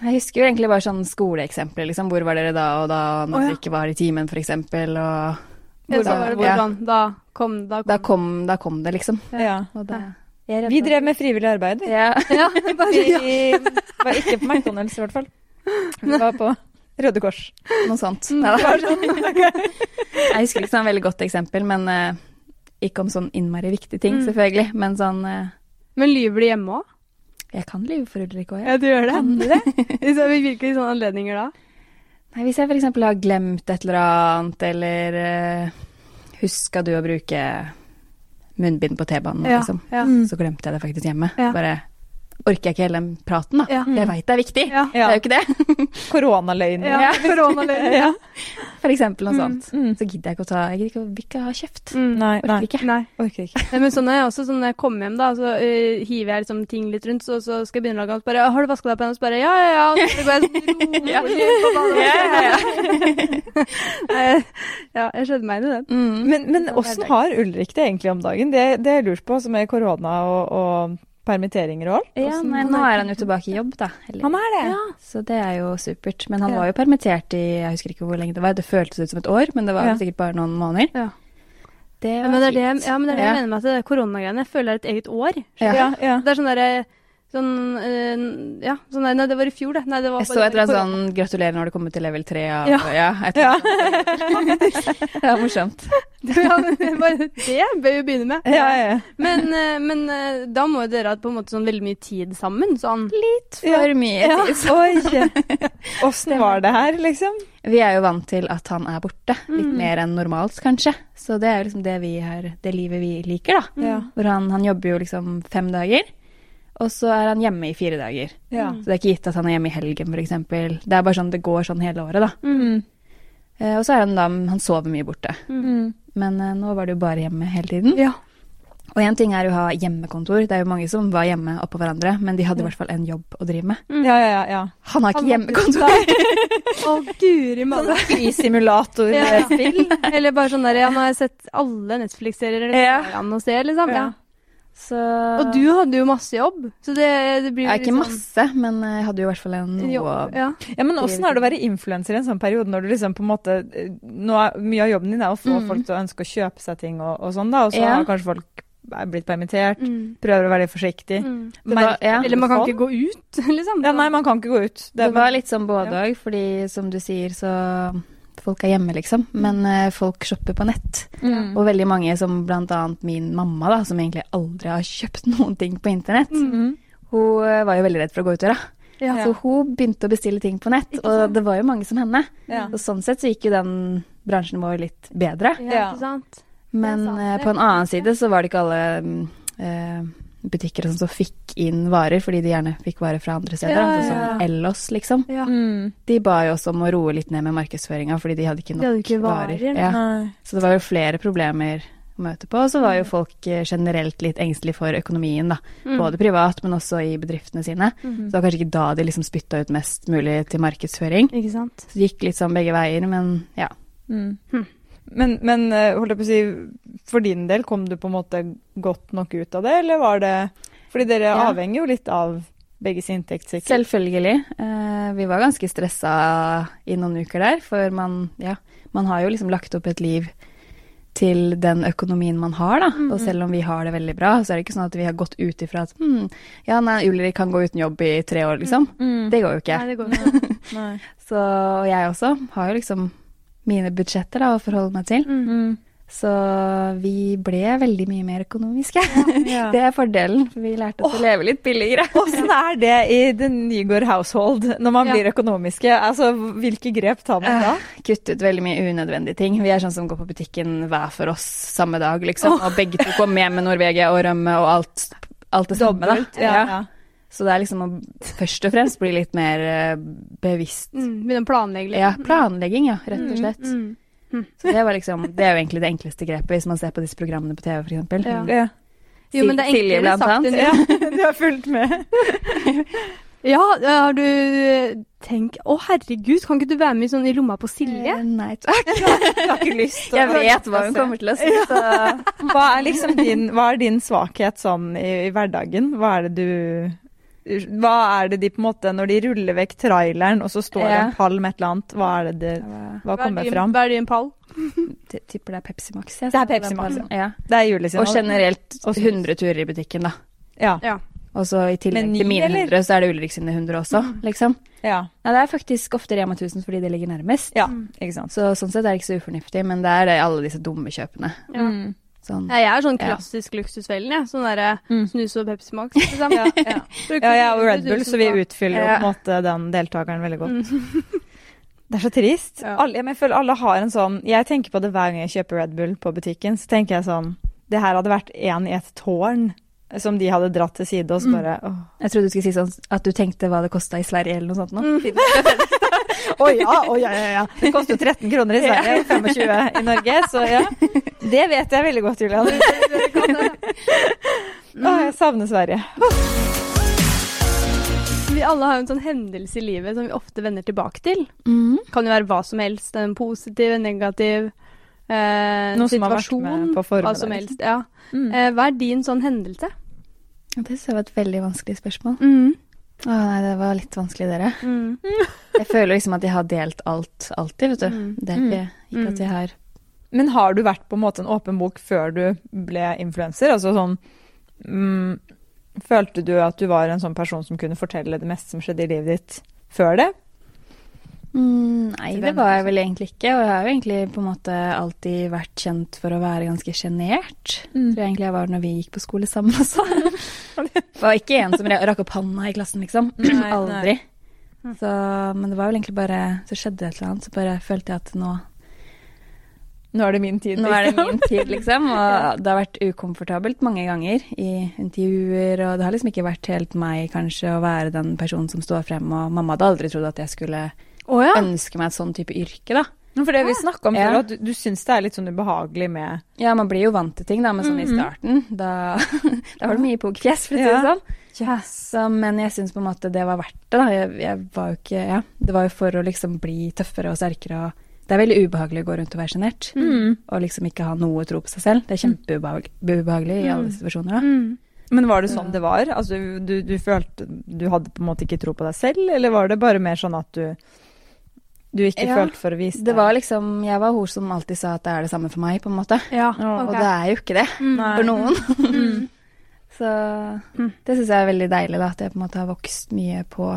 Speaker 3: Jeg husker jo egentlig bare sånn skoleeksempler, liksom. Hvor var dere da og da,
Speaker 1: Å,
Speaker 3: når
Speaker 1: ja.
Speaker 3: dere ikke var i timen, for eksempel,
Speaker 1: Ja,
Speaker 3: og
Speaker 1: så var det bare
Speaker 3: Ja.
Speaker 1: sånn, da kom, da kom.
Speaker 3: da kom, da kom det, liksom.
Speaker 2: Ja.
Speaker 3: Og da,
Speaker 2: Vi drev med frivillig arbeid. vi.
Speaker 3: ja.
Speaker 1: Ja, bare, ja.
Speaker 2: Vi var ikke på McDonald's, i hvert fall. Vi var på Røde Kors.
Speaker 3: noe sånt. Neida. Mm. Jeg husker ikke sånn veldig godt eksempel, men eh, ikke om sånn innmari viktige ting,
Speaker 1: Mm.
Speaker 3: selvfølgelig. Men sånn eh,
Speaker 1: Men lyver du hjemme òg?
Speaker 3: Jeg kan lyve for Ulrik òg, jeg.
Speaker 1: Ja, du gjør det. Kan du det? I så- i hvilke sånne anledninger da?
Speaker 3: Nei, hvis jeg f.eks. har glemt et eller annet, eller uh, huska du å bruke munnbind på T-banen,
Speaker 1: Ja,
Speaker 3: liksom.
Speaker 1: ja.
Speaker 2: Mm.
Speaker 3: Så glemte jeg det faktisk hjemme.
Speaker 1: Ja.
Speaker 3: Bare orker jeg ikke hele den praten, da.
Speaker 1: Ja.
Speaker 3: For jeg veit det er viktig.
Speaker 1: Ja.
Speaker 3: Det er jo ikke det.
Speaker 2: Koronaløgn.
Speaker 1: ja. Koronaløgn.
Speaker 2: Ja.
Speaker 3: For eksempel noe sånt.
Speaker 2: Mm.
Speaker 3: Så gidder jeg ikke å ta Jeg gidder ikke, å- vil ikke ha kjeft.
Speaker 1: Mm.
Speaker 2: Nei, nei.
Speaker 3: Orker ikke.
Speaker 1: Nei.
Speaker 2: Orker ikke.
Speaker 1: Nei, men sånn er jeg også, sånn når jeg kommer hjem, da, så eh, hiver jeg liksom ting litt rundt, så, så skal jeg begynne å lage mat. Bare 'Har du vaska deg på henne?' Og så bare 'Ja, ja, ja.' Og så går jeg sånn rolig på badet. Nei, Ja, jeg skjønner meg inn i den.
Speaker 3: Mm.
Speaker 2: Men, men
Speaker 1: Det er
Speaker 2: åssen
Speaker 1: hverdag.
Speaker 2: har Ulrik det egentlig om dagen? Det, det har jeg lurt på, som er korona og, og permitteringer og alt.
Speaker 3: Ja, nei, nå er han jo tilbake i jobb, da. Eller-
Speaker 2: Han er det.
Speaker 3: Så det er jo supert. Men han
Speaker 2: Ja.
Speaker 3: var jo permittert i jeg husker ikke hvor lenge det var. Det føltes ut som et år, men det var
Speaker 2: Ja.
Speaker 3: sikkert bare noen måneder.
Speaker 1: Ja.
Speaker 3: Det
Speaker 1: Ja,
Speaker 3: var
Speaker 1: men det er det,
Speaker 3: fint.
Speaker 1: ja, men det, er det jeg
Speaker 3: Ja.
Speaker 1: mener med at det er koronagreiene. Jeg føler det er et eget år.
Speaker 3: Ja.
Speaker 2: Ja, ja.
Speaker 1: Det er sånn derre Sånn eh, Ja, sånn der, nei, det var i fjor, det. Nei, det var
Speaker 3: Jeg så etter en
Speaker 1: korona.
Speaker 3: sånn 'gratulerer når du kommer til level 3' av
Speaker 1: Ja.
Speaker 3: Ja. et eller annet sånt. det var morsomt.
Speaker 1: Ja, men det var- det bør vi begynne med.
Speaker 2: Ja, ja, ja.
Speaker 1: Men, eh, men eh, da må jo dere ha på en måte sånn veldig mye tid sammen. Sånn.
Speaker 3: For mye.
Speaker 2: Ja. Oi! Åssen var det her, liksom?
Speaker 3: Vi er jo vant til at han er borte, litt mer enn normalt kanskje. Så det er jo liksom det vi har, det livet vi liker, da.
Speaker 2: Ja.
Speaker 3: Hvor han, han jobber jo liksom fem dager, og så er han hjemme i fire dager.
Speaker 2: Ja.
Speaker 3: Så det er ikke gitt at han er hjemme i helgen, for eksempel. Det er bare sånn det går sånn hele året, da.
Speaker 2: Mm.
Speaker 3: Eh, og så er han da Han sover mye borte.
Speaker 2: Mm.
Speaker 3: Men eh, nå var det jo bare hjemme hele tiden.
Speaker 1: Ja.
Speaker 3: Og én ting er jo å ha hjemmekontor, det er jo mange som var hjemme oppå hverandre, men de hadde i hvert fall en jobb å drive med.
Speaker 2: Mm. ja, ja, ja. ja.
Speaker 3: Han
Speaker 1: Han
Speaker 3: har ikke
Speaker 1: hadde-
Speaker 3: hjemmekontor!
Speaker 1: Å, guri malla.
Speaker 2: Flysimulator.
Speaker 1: Ja, ja. Eller bare sånn der Ja, nå har jeg sett alle Netflix-serier eller
Speaker 3: Ja.
Speaker 1: serier han og ser, liksom. Ja.
Speaker 2: Ja.
Speaker 3: Så
Speaker 1: Og du hadde jo masse jobb, så det, det blir
Speaker 3: Ja, ikke
Speaker 1: liksom-
Speaker 3: masse, men eh, jeg hadde jo i hvert fall en
Speaker 1: en
Speaker 3: noe
Speaker 1: jobb. Ja.
Speaker 2: Ja, men åssen er det å være influenser i en sånn periode når du liksom på en måte eh, nå er, Mye av jobben din er å få
Speaker 3: Mm.
Speaker 2: folk til å ønske å kjøpe seg ting og, og sånn, da, og så
Speaker 3: Ja.
Speaker 2: har kanskje folk er blitt permittert.
Speaker 1: Mm.
Speaker 2: Prøver å være litt forsiktig.
Speaker 1: Mm.
Speaker 3: Det var- ja.
Speaker 1: Eller man kan ikke gå ut, liksom.
Speaker 2: Ja, nei, man kan ikke gå ut.
Speaker 3: Det var litt sånn både òg, fordi som du sier, så Folk er hjemme, liksom. Men eh, folk shopper på nett.
Speaker 2: Mm.
Speaker 3: Og veldig mange, som blant annet min mamma, da, som egentlig aldri har kjøpt noen ting på internett,
Speaker 2: Mm.
Speaker 3: hun eh, var jo veldig redd for å gå ut døra.
Speaker 1: Ja.
Speaker 3: Så hun begynte å bestille ting på nett, og det var jo mange som henne.
Speaker 2: Ja.
Speaker 3: Så sånn sett så gikk jo den bransjen vår litt bedre.
Speaker 1: Ja, ikke sant?
Speaker 3: Men
Speaker 1: sant,
Speaker 3: eh,
Speaker 1: det
Speaker 3: på en annen
Speaker 1: sant,
Speaker 3: side så var det ikke alle mm, eh, butikker og sånn som fikk inn varer, fordi de gjerne fikk varer fra andre steder.
Speaker 1: Ja,
Speaker 3: altså
Speaker 2: ja,
Speaker 3: Sånn Ellos, liksom.
Speaker 1: Ja.
Speaker 2: Mm.
Speaker 3: De ba jo også om å roe litt ned med markedsføringa, fordi de hadde ikke
Speaker 1: De
Speaker 3: nok
Speaker 1: hadde ikke varer,
Speaker 3: varer.
Speaker 1: nei.
Speaker 3: Ja.
Speaker 2: Nei.
Speaker 3: Så det var jo flere problemer å møte på. Og så
Speaker 1: Mm.
Speaker 3: var jo folk eh, generelt litt engstelige for økonomien, da. Mm.
Speaker 1: Mm.
Speaker 3: Både privat, men også i bedriftene sine.
Speaker 1: Mm-hmm.
Speaker 3: Så det var kanskje ikke da de liksom spytta ut mest mulig til markedsføring.
Speaker 1: Ikke sant?
Speaker 3: liksom Så det gikk litt sånn begge veier, men ja.
Speaker 2: Mm.
Speaker 1: Hm.
Speaker 2: Men, men eh, holdt jeg på å si, for din del, kom du på en måte godt nok ut av det, eller var det Fordi dere
Speaker 3: Ja.
Speaker 2: avhenger jo litt av begges inntekt, sikkert.
Speaker 3: Selvfølgelig. Eh, vi var ganske stressa i noen uker der, for man, ja, man har jo liksom lagt opp et liv til den økonomien man har, da.
Speaker 2: Mm-hmm.
Speaker 3: Og selv om vi har det veldig bra, så er det ikke sånn at vi har gått ut ifra at hm, ja, nei, Ulrik kan gå uten jobb i tre år, liksom.
Speaker 2: Mm.
Speaker 3: Det går jo ikke.
Speaker 1: Nei, det går ikke.
Speaker 2: Nei.
Speaker 3: Så og jeg også har jo liksom mine budsjetter da, å forholde meg til.
Speaker 1: Mm.
Speaker 2: Mm.
Speaker 3: Så vi ble veldig mye mer økonomiske.
Speaker 2: Ja.
Speaker 3: Det er fordelen, for vi lærte oss å leve litt billigere.
Speaker 2: Åssen er det i The Nygaard household når man
Speaker 1: Ja.
Speaker 2: blir økonomiske? Altså, hvilke grep tar man da?
Speaker 3: Kutte ut veldig mye unødvendige ting. Vi er sånn som går på butikken hver for oss samme dag, liksom. Og begge to kommer hjem med Norvegia og rømme og alt, alt det samme, da.
Speaker 2: Ja.
Speaker 3: Ja. Så det er liksom å først og fremst bli litt mer eh, bevisst.
Speaker 1: Mm. Begynne å planlegge litt.
Speaker 3: Ja, planlegging, ja, rett og slett.
Speaker 1: Mm.
Speaker 3: Så det var liksom Det er jo egentlig det enkleste grepet, hvis man ser på disse programmene på TV, for eksempel.
Speaker 1: Ja.
Speaker 2: Ja.
Speaker 1: Jo, men det er
Speaker 3: Silje,
Speaker 1: enklere
Speaker 3: blant
Speaker 1: sagt enn
Speaker 2: Ja, du har fulgt med.
Speaker 1: Ja, har du tenkt Å, herregud, kan ikke du være med i sånn i lomma på Silje?
Speaker 3: Eh, Nei takk.
Speaker 2: Du har ikke lyst til å-
Speaker 3: Jeg vet hva hun kommer til å si, så
Speaker 2: Hva er liksom din, hva er din svakhet sånn i, i hverdagen? Hva er det du Hva er det de på en måte Når de ruller vekk traileren, og så står det
Speaker 3: Ja.
Speaker 2: en pall med et eller annet, hva er det det Hva kommer fram?
Speaker 1: Hva er din pall?
Speaker 3: Jeg tipper det er Pepsi Max. jeg.
Speaker 2: Det er Pepsi Max.
Speaker 3: Ja.
Speaker 2: Det er Julie sin.
Speaker 3: Og generelt
Speaker 2: Og-
Speaker 3: 100 turer i butikken, da.
Speaker 2: Ja.
Speaker 1: Ja.
Speaker 3: Og så Altså, i tillegg
Speaker 2: Men ni,
Speaker 3: til mine
Speaker 2: eller?
Speaker 3: 100, så er det Ulrik sine 100 også, liksom.
Speaker 2: ja.
Speaker 3: Nei, det er faktisk ofte Rema 1000 fordi det ligger nærmest.
Speaker 2: Ja, ikke sant.
Speaker 3: Så sånn sett er det ikke så ufornuftig, men det er det alle disse dumme kjøpene.
Speaker 1: Ja.
Speaker 2: Mm.
Speaker 3: Sånn.
Speaker 1: Ja, jeg er sånn
Speaker 3: Ja.
Speaker 1: klassisk luksusfellen, jeg. Sånn derre
Speaker 2: Mm.
Speaker 1: snus og Pepsi Max, liksom.
Speaker 2: Ja, ja. ja, jeg er jo Red Bull, så vi utfyller jo på
Speaker 3: Ja.
Speaker 2: en måte den deltakeren veldig godt. Det er så trist.
Speaker 1: Ja.
Speaker 2: Alle, men jeg føler alle har en sånn Jeg tenker på det hver gang jeg kjøper Red Bull på butikken. Så tenker jeg sånn Det her hadde vært én i et tårn som de hadde dratt til side, og så bare åh.
Speaker 3: Jeg trodde du skulle si sånn at du tenkte hva det kosta i Sverige eller noe sånt nå.
Speaker 2: Å ja, å ja, ja, ja. Det koster 13 kroner i Sverige, 25 i Norge, så ja. Det vet jeg veldig godt, Julian. Å, jeg savner Sverige.
Speaker 1: Vi alle har jo en sånn hendelse i livet som vi ofte vender tilbake til.
Speaker 3: Mm.
Speaker 1: Kan jo være hva som helst. En positiv, en negativ eh,
Speaker 2: Noe som har vært
Speaker 1: situasjon.
Speaker 2: med på formen. liksom.
Speaker 1: hva som helst. Ja.
Speaker 2: Mm.
Speaker 1: Eh, hva er din sånn hendelse?
Speaker 3: Det synes jeg var et veldig vanskelig spørsmål.
Speaker 1: Mm.
Speaker 3: Å nei, det var litt vanskelig, dere.
Speaker 1: Mm.
Speaker 3: Jeg føler liksom at jeg har delt alt alltid, vet du.
Speaker 1: Mm.
Speaker 3: Det er ikke, ikke at jeg har
Speaker 2: Men har du vært på en måte en åpen bok før du ble influenser? Altså sånn mm, Følte du at du var en sånn person som kunne fortelle det meste som skjedde i livet ditt før det?
Speaker 3: Mm, nei,
Speaker 2: Til
Speaker 3: det
Speaker 2: venner,
Speaker 3: var jeg vel egentlig ikke. Og jeg har jo egentlig på en måte alltid vært kjent for å være ganske sjenert. Tror jeg egentlig jeg var når vi gikk på skole sammen også. var ikke en som re- rakk opp handa i klassen, liksom.
Speaker 2: Nei,
Speaker 3: Aldri. Så, men det var vel egentlig bare Så skjedde det et eller annet, så bare følte jeg at nå,
Speaker 2: Nå er det min tid.
Speaker 3: nå er det
Speaker 2: liksom.
Speaker 3: min tid, liksom. Og det har vært ukomfortabelt mange ganger i intervjuer, og det har liksom ikke vært helt meg, kanskje, å være den personen som står frem, og mamma hadde aldri trodd at jeg skulle
Speaker 1: Å ja.
Speaker 3: ønske meg et sånn type yrke, da.
Speaker 2: For det vi snakka om,
Speaker 3: Ja.
Speaker 2: før, at du, du syns det er litt sånn ubehagelig med
Speaker 3: Ja, man blir jo vant til ting, da, men sånn
Speaker 2: Mhm.
Speaker 3: i starten Da, da var det mye pokerfjes, for å si det
Speaker 2: Ja.
Speaker 3: sånn. Så, men jeg syns på en måte det var verdt det, da. Jeg, jeg var jo ikke Ja, det var jo for å liksom bli tøffere og sterkere og Det er veldig ubehagelig å gå rundt og være sjenert.
Speaker 2: Mm.
Speaker 3: Og liksom ikke ha noe tro på seg selv. Det er kjempeubehagelig i alle situasjoner, da.
Speaker 1: Mm.
Speaker 2: Men var det sånn det var? Altså, du, du følte Du hadde på en måte ikke tro på deg selv, eller var det bare mer sånn at du Du ikke
Speaker 3: Ja.
Speaker 2: følte for å vise
Speaker 3: Det var liksom Jeg var hun som alltid sa at det er det samme for meg, på en måte.
Speaker 1: Ja,
Speaker 2: Ja,
Speaker 1: ok.
Speaker 3: Og det er jo ikke det
Speaker 2: Nei. Mm.
Speaker 3: for noen.
Speaker 1: Mm.
Speaker 3: Så det syns jeg er veldig deilig, da. At jeg på en måte har vokst mye på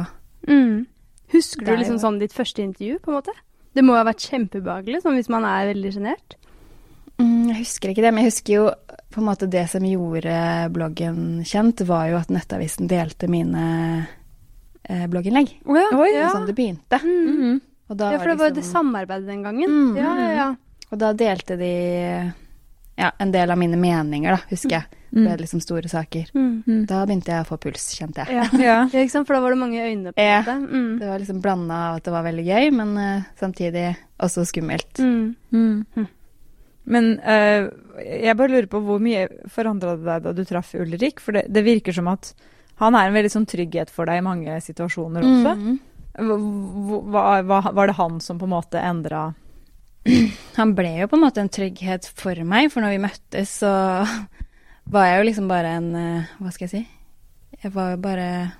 Speaker 1: Mm. Husker
Speaker 3: Det
Speaker 1: du
Speaker 3: er
Speaker 1: liksom
Speaker 3: jo-
Speaker 1: sånn ditt første intervju, på en måte? Det må jo ha vært kjempeubehagelig, sånn hvis man er veldig sjenert.
Speaker 3: Mm, Jeg husker ikke det, men jeg husker jo på en måte det som gjorde bloggen kjent, var jo at Nettavisen delte mine eh, blogginnlegg.
Speaker 1: Oh, ja.
Speaker 2: Oi,
Speaker 3: Det var
Speaker 1: ja.
Speaker 3: Sånn det begynte.
Speaker 1: Mm.
Speaker 2: Mhm.
Speaker 3: Og da,
Speaker 1: ja, for det var jo det
Speaker 3: liksom,
Speaker 1: samarbeidet den gangen.
Speaker 3: Mm.
Speaker 1: Ja, ja, ja.
Speaker 3: og da delte de ja, en del av mine meninger, da, husker jeg. Det ble liksom store saker.
Speaker 1: Mm.
Speaker 3: Da begynte jeg å få puls, kjente jeg.
Speaker 1: Ja.
Speaker 2: Ja.
Speaker 1: ja, ikke sant? For da var det mange øyne på
Speaker 3: Ja.
Speaker 1: det. Mm.
Speaker 3: Det var liksom blanda av at det var veldig gøy, men eh, samtidig også skummelt.
Speaker 1: Mm.
Speaker 2: Hm. Men eh, jeg bare lurer på hvor mye forandra det deg da du traff Ulrik? For det, det virker som at han er en veldig sånn trygghet for deg i mange
Speaker 1: Mm.
Speaker 2: Mm. situasjoner også.
Speaker 3: Mhm.
Speaker 2: Hva- hva- hva- var det han som på en måte endra
Speaker 3: han ble jo på en måte en trygghet for meg, for når vi møttes, så var jeg jo liksom bare en eh, Hva skal jeg si? Jeg var jo bare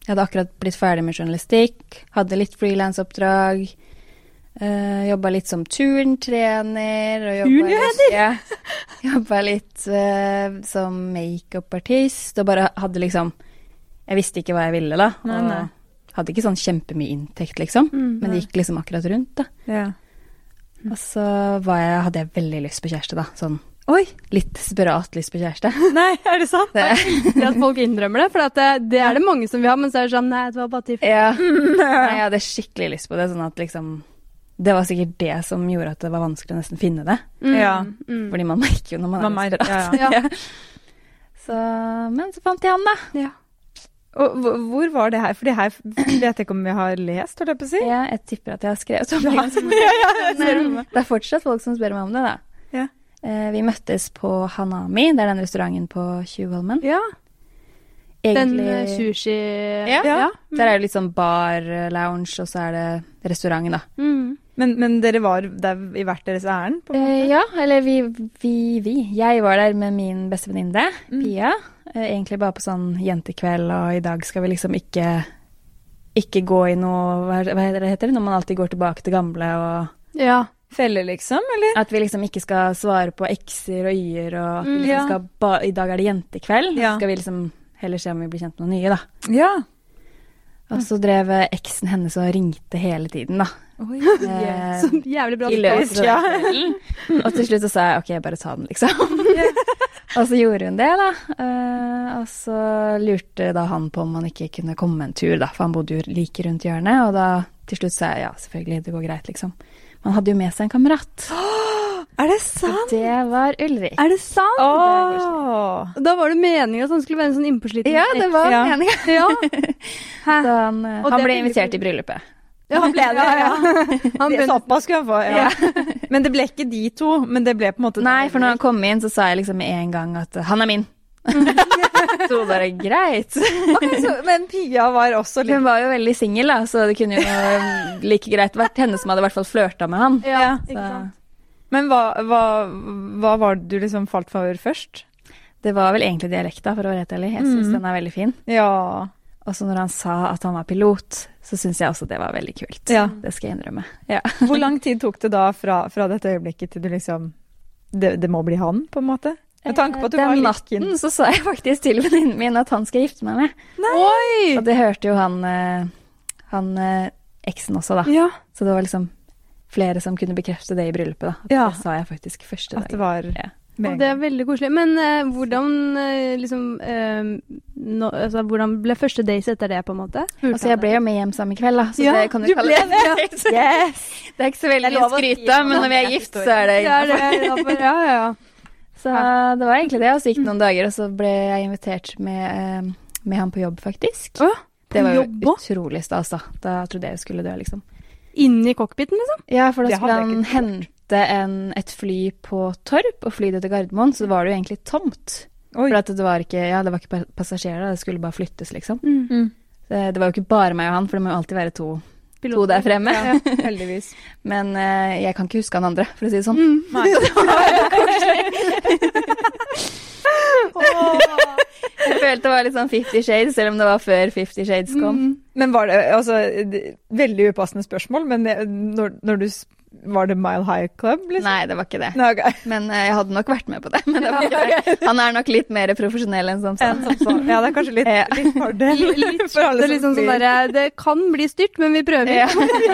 Speaker 3: Jeg hadde akkurat blitt ferdig med journalistikk, hadde litt frilansoppdrag. Uh, jobba litt som turntrener. og jobba litt- Ja, jobba litt eh, som makeupartist, og bare hadde liksom Jeg visste ikke hva jeg ville, da. Og
Speaker 2: Nei, nei.
Speaker 3: hadde ikke sånn kjempemye inntekt, liksom,
Speaker 1: Mm,
Speaker 3: men det gikk liksom akkurat rundt, da.
Speaker 2: Ja.
Speaker 3: Og så var jeg, hadde jeg veldig lyst på kjæreste, da. Sånn
Speaker 2: Oi!
Speaker 3: litt desperat lyst på kjæreste.
Speaker 2: Nei, er det sant?
Speaker 3: Det,
Speaker 1: Det at folk innrømmer det, for at det, det er det mange som vil ha, men så er det sånn Nei, det var bare til
Speaker 3: ja. Nei, jeg hadde skikkelig lyst på det, sånn at liksom Det var sikkert det som gjorde at det var vanskelig å nesten finne det.
Speaker 1: mm,
Speaker 2: Ja.
Speaker 1: Mm.
Speaker 3: Fordi man merker jo når man er
Speaker 2: Man merker,
Speaker 3: desperat.
Speaker 1: ja, ja.
Speaker 3: Så, men så fant jeg han, da.
Speaker 1: Ja.
Speaker 2: Og hvor- hvor var det her? For det her vet jeg ikke om vi har lest, holdt jeg på å si.
Speaker 3: Ja, jeg tipper at jeg har skrevet om
Speaker 2: Mm. Ja,
Speaker 3: det.
Speaker 2: ja, ja, jeg ser det.
Speaker 3: Men det er fortsatt folk som spør meg om det, da.
Speaker 2: Ja.
Speaker 3: Eh, Vi møttes på Hanami, det er den restauranten på Tjuvholmen.
Speaker 1: ja. Den
Speaker 3: Egentlig
Speaker 1: eh, sushi
Speaker 3: Ja.
Speaker 1: ja.
Speaker 3: Der er det litt sånn bar, eh, lounge, og så er det restauranten, da.
Speaker 1: Mm.
Speaker 2: Men, men dere var der i hvert deres ærend? på en måte?
Speaker 3: Eh, ja, eller vi, vi, vi. Jeg var der med min beste venninne,
Speaker 2: Mm.
Speaker 3: Pia. Eh, egentlig bare på sånn jentekveld, og i dag skal vi liksom ikke ikke gå i noe Hva er- hva er det heter det når man alltid går tilbake til gamle, og
Speaker 1: ja.
Speaker 2: Felle, liksom? Eller?
Speaker 3: at vi liksom ikke skal svare på x-er og y-er, og at vi
Speaker 1: Mm,
Speaker 3: liksom
Speaker 2: ja.
Speaker 3: skal ba I dag er det jentekveld,
Speaker 2: Ja.
Speaker 3: så skal vi liksom heller se om vi blir kjent med noen nye, da.
Speaker 2: Ja.
Speaker 3: Og så drev eh, eksen hennes og ringte hele tiden, da.
Speaker 2: Oi.
Speaker 3: Eh,
Speaker 1: Så jævlig bra.
Speaker 3: i løpet
Speaker 2: Ja.
Speaker 3: av kvelden. Og til slutt så sa jeg OK, bare ta den, liksom. og så gjorde hun det, da. Eh, og så lurte da han på om han ikke kunne komme en tur, da, for han bodde jo like rundt hjørnet. Og da til slutt sa jeg ja, selvfølgelig, det går greit, liksom. Men han hadde jo med seg en kamerat.
Speaker 2: Er det sant?
Speaker 3: Det var Ulrik.
Speaker 1: Er det sant?
Speaker 2: Åh.
Speaker 1: Da var det meningen at han skulle være en sånn innpåsliten
Speaker 3: Ja, det var
Speaker 2: Ja.
Speaker 3: meninga.
Speaker 1: Ja. Hæ?
Speaker 3: Så han, eh,
Speaker 1: Og det
Speaker 3: han ble
Speaker 1: blir-
Speaker 3: invitert i bryllupet.
Speaker 1: Ja, han ble det. Ja, Han
Speaker 2: Det-
Speaker 1: ble,
Speaker 3: sånn.
Speaker 2: Såpass skulle han få, ja. Men det ble ikke de to, men det ble på en måte
Speaker 3: Nei, for når han kom inn, så sa jeg liksom med en gang at eh, han er min. så bare greit.
Speaker 2: Ok, så- Men Pia var også litt
Speaker 3: Hun var jo veldig singel, da, så det kunne jo eh, like greit vært henne som hadde i hvert fall flørta med han.
Speaker 1: ja,
Speaker 2: Ja.
Speaker 1: ikke sant.
Speaker 2: Men hva, hva, hva var det du liksom falt for først?
Speaker 3: Det var vel egentlig dialekta, for å være helt ærlig. Jeg
Speaker 2: Mm.
Speaker 3: syns den er veldig fin.
Speaker 2: Ja.
Speaker 3: Og så når han sa at han var pilot, så syns jeg også det var veldig kult.
Speaker 2: Ja.
Speaker 3: Det skal jeg innrømme. Ja.
Speaker 2: Hvor lang tid tok det da fra, fra dette øyeblikket til du liksom det, det må bli han, på en måte? Med tanke på at du var
Speaker 3: Den
Speaker 2: litt
Speaker 3: natten Mm, så sa jeg faktisk til venninnen min at han skal gifte meg med.
Speaker 1: Oi!
Speaker 3: Og det hørte jo han, eh, han eh, eksen også, da.
Speaker 1: Ja.
Speaker 3: Så det var liksom flere som kunne bekrefte det i bryllupet, da. At
Speaker 2: Ja.
Speaker 3: Det sa jeg faktisk første
Speaker 2: At det
Speaker 3: dagen.
Speaker 2: var
Speaker 3: Ja.
Speaker 2: med
Speaker 1: Og det er veldig koselig. Men eh, hvordan eh, liksom eh, nå- altså, Hvordan ble første dates etter det, på en måte? Hørte
Speaker 3: Altså, jeg ble jo med hjem samme kveld, da, så
Speaker 1: Ja,
Speaker 3: det kan du,
Speaker 1: du
Speaker 3: kalle
Speaker 1: ble det,
Speaker 3: det. Yes. Det er ikke så veldig
Speaker 2: Det er
Speaker 3: mye
Speaker 2: lov å
Speaker 3: skryt
Speaker 2: si
Speaker 3: av, men når vi er gift, så er det
Speaker 1: Ja, det er derfor- ja, ja, ja.
Speaker 3: Så det var egentlig det. Og så gikk det noen dager, og så ble jeg invitert med, eh, med han på jobb, faktisk.
Speaker 1: Å,
Speaker 3: det var jo
Speaker 1: jobb også?
Speaker 3: utrolig stas, da. Da trodde jeg jeg skulle dø, liksom.
Speaker 1: Inni cockpiten, liksom?
Speaker 3: Ja, for da
Speaker 2: Det hadde
Speaker 3: skulle
Speaker 2: jeg
Speaker 3: han hente en, et fly på Torp og fly det til Gardermoen, så var det jo egentlig tomt.
Speaker 2: Oi.
Speaker 3: For at det var ikke, ja, det var ikke pa- passasjerer, da. det skulle bare flyttes, liksom.
Speaker 2: Mm.
Speaker 3: Det, det var jo ikke bare meg og han, for det må jo alltid være to, to
Speaker 1: Piloter.
Speaker 3: der fremme.
Speaker 2: Ja, heldigvis.
Speaker 3: Men eh, jeg kan ikke huske han andre, for å si det sånn.
Speaker 2: Nei.
Speaker 3: Jeg følte det var litt sånn Fifty Shades, selv om det var før Fifty Shades kom.
Speaker 2: Men var det altså det- Veldig upassende spørsmål, men det- når, når du s- Var det Mile High Club, liksom?
Speaker 3: Nei, det var ikke det.
Speaker 2: Nei, ok.
Speaker 3: Men eh, jeg hadde nok vært med på det. Men det var ikke det. Han er nok litt mer profesjonell enn som sånn.
Speaker 2: Ja, det er kanskje litt, litt fordel for alle
Speaker 1: Det er liksom
Speaker 2: som
Speaker 1: sånn
Speaker 2: blir-
Speaker 1: derre Det kan bli styrt, men vi prøver.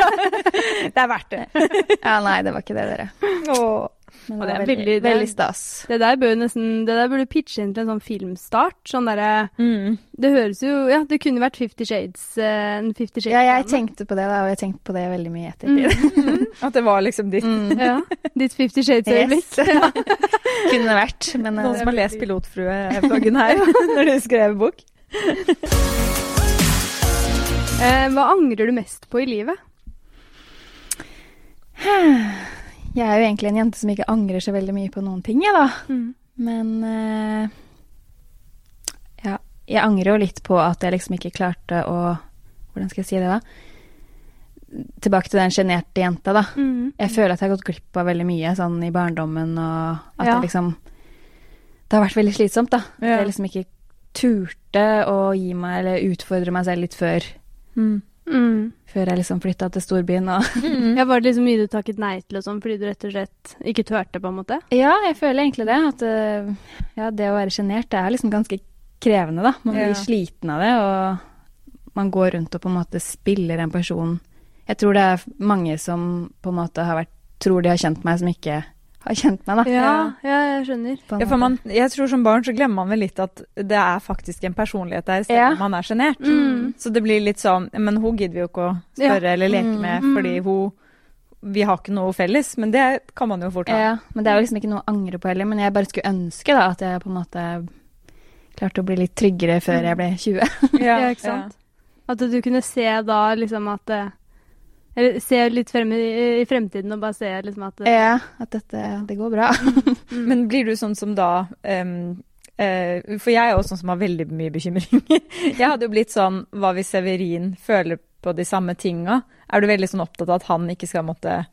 Speaker 3: Ja.
Speaker 2: Det er verdt det.
Speaker 3: ja, nei, det var ikke det, dere.
Speaker 2: Åh.
Speaker 3: Men
Speaker 1: Og
Speaker 3: det
Speaker 1: det
Speaker 3: var
Speaker 1: er
Speaker 3: veldig,
Speaker 1: veldig- det er-
Speaker 3: veldig stas.
Speaker 1: Det der bør jo nesten Det der burde pitche inn til en sånn filmstart. Sånn derre
Speaker 2: Mm.
Speaker 1: Det høres jo Ja, det kunne vært Fifty Shades. eh, En Fifty Shades. Mm,
Speaker 3: Ja, Mm. jeg tenkte på det, da, og jeg tenkte på det veldig mye i ettertid.
Speaker 2: At det var liksom
Speaker 3: Mm.
Speaker 2: ditt.
Speaker 1: Ja. Ditt Fifty Shades-øyeblikk.
Speaker 3: Yes. Ja. Kunne vært, men eh,
Speaker 2: Noen som har lest Pilotfrue-bloggen her når du skrev bok?
Speaker 1: Eh, hva angrer du mest på i livet?
Speaker 3: jeg er jo egentlig en jente som ikke angrer så veldig mye på noen ting, jeg, da.
Speaker 1: Mm.
Speaker 3: Men eh, ja, jeg angrer jo litt på at jeg liksom ikke klarte å Hvordan skal jeg si det, da? tilbake til den sjenerte jenta, da.
Speaker 1: Mm.
Speaker 3: Jeg føler at jeg har gått glipp av veldig mye sånn i barndommen, og at
Speaker 1: Ja.
Speaker 3: jeg liksom Det har vært veldig slitsomt, da. At
Speaker 2: Ja.
Speaker 3: jeg liksom ikke turte å gi meg eller utfordre meg selv litt før,
Speaker 1: Mm.
Speaker 3: før jeg liksom flytta til storbyen og
Speaker 1: Ja, var det liksom mye du takket nei til og sånn, fordi du rett og slett ikke turte, på en måte?
Speaker 3: Ja, jeg føler egentlig det. At øh, ja, det å være sjenert, det er liksom ganske krevende, da. Man blir
Speaker 2: Ja.
Speaker 3: sliten av det, og man går rundt og på en måte spiller en person Jeg tror det er mange som på en måte har vært Tror de har kjent meg, som ikke har kjent meg, da.
Speaker 1: Ah, Ja, ja, jeg skjønner.
Speaker 3: på en
Speaker 2: Ja, for
Speaker 3: måte.
Speaker 2: man, jeg tror Som barn så glemmer man vel litt at det er faktisk en personlighet der, selv
Speaker 3: Ja.
Speaker 2: om man er sjenert.
Speaker 1: Mm.
Speaker 2: Så det blir litt sånn Men hun gidder vi jo ikke å spørre eller leke
Speaker 3: Mm,
Speaker 2: med,
Speaker 1: mm.
Speaker 2: fordi hun Vi har ikke noe felles. Men det kan man jo fort ha.
Speaker 3: ja, men det er jo liksom ikke noe å angre på heller. Men jeg bare skulle ønske da at jeg på en måte klarte å bli litt tryggere
Speaker 2: Mm.
Speaker 3: før jeg ble 20.
Speaker 1: Ja, ikke sant? At du kunne se da liksom at eh, Eller se litt frem i, i fremtiden og bare se liksom at eh,
Speaker 3: Ja, at dette Det går bra. Mm.
Speaker 2: Ja. Men blir du sånn som da ehm, eh, For jeg er jo sånn som har veldig mye bekymringer. jeg hadde jo blitt sånn Hva hvis Severin føler på de samme tinga? Er du veldig sånn opptatt av at han ikke skal måtte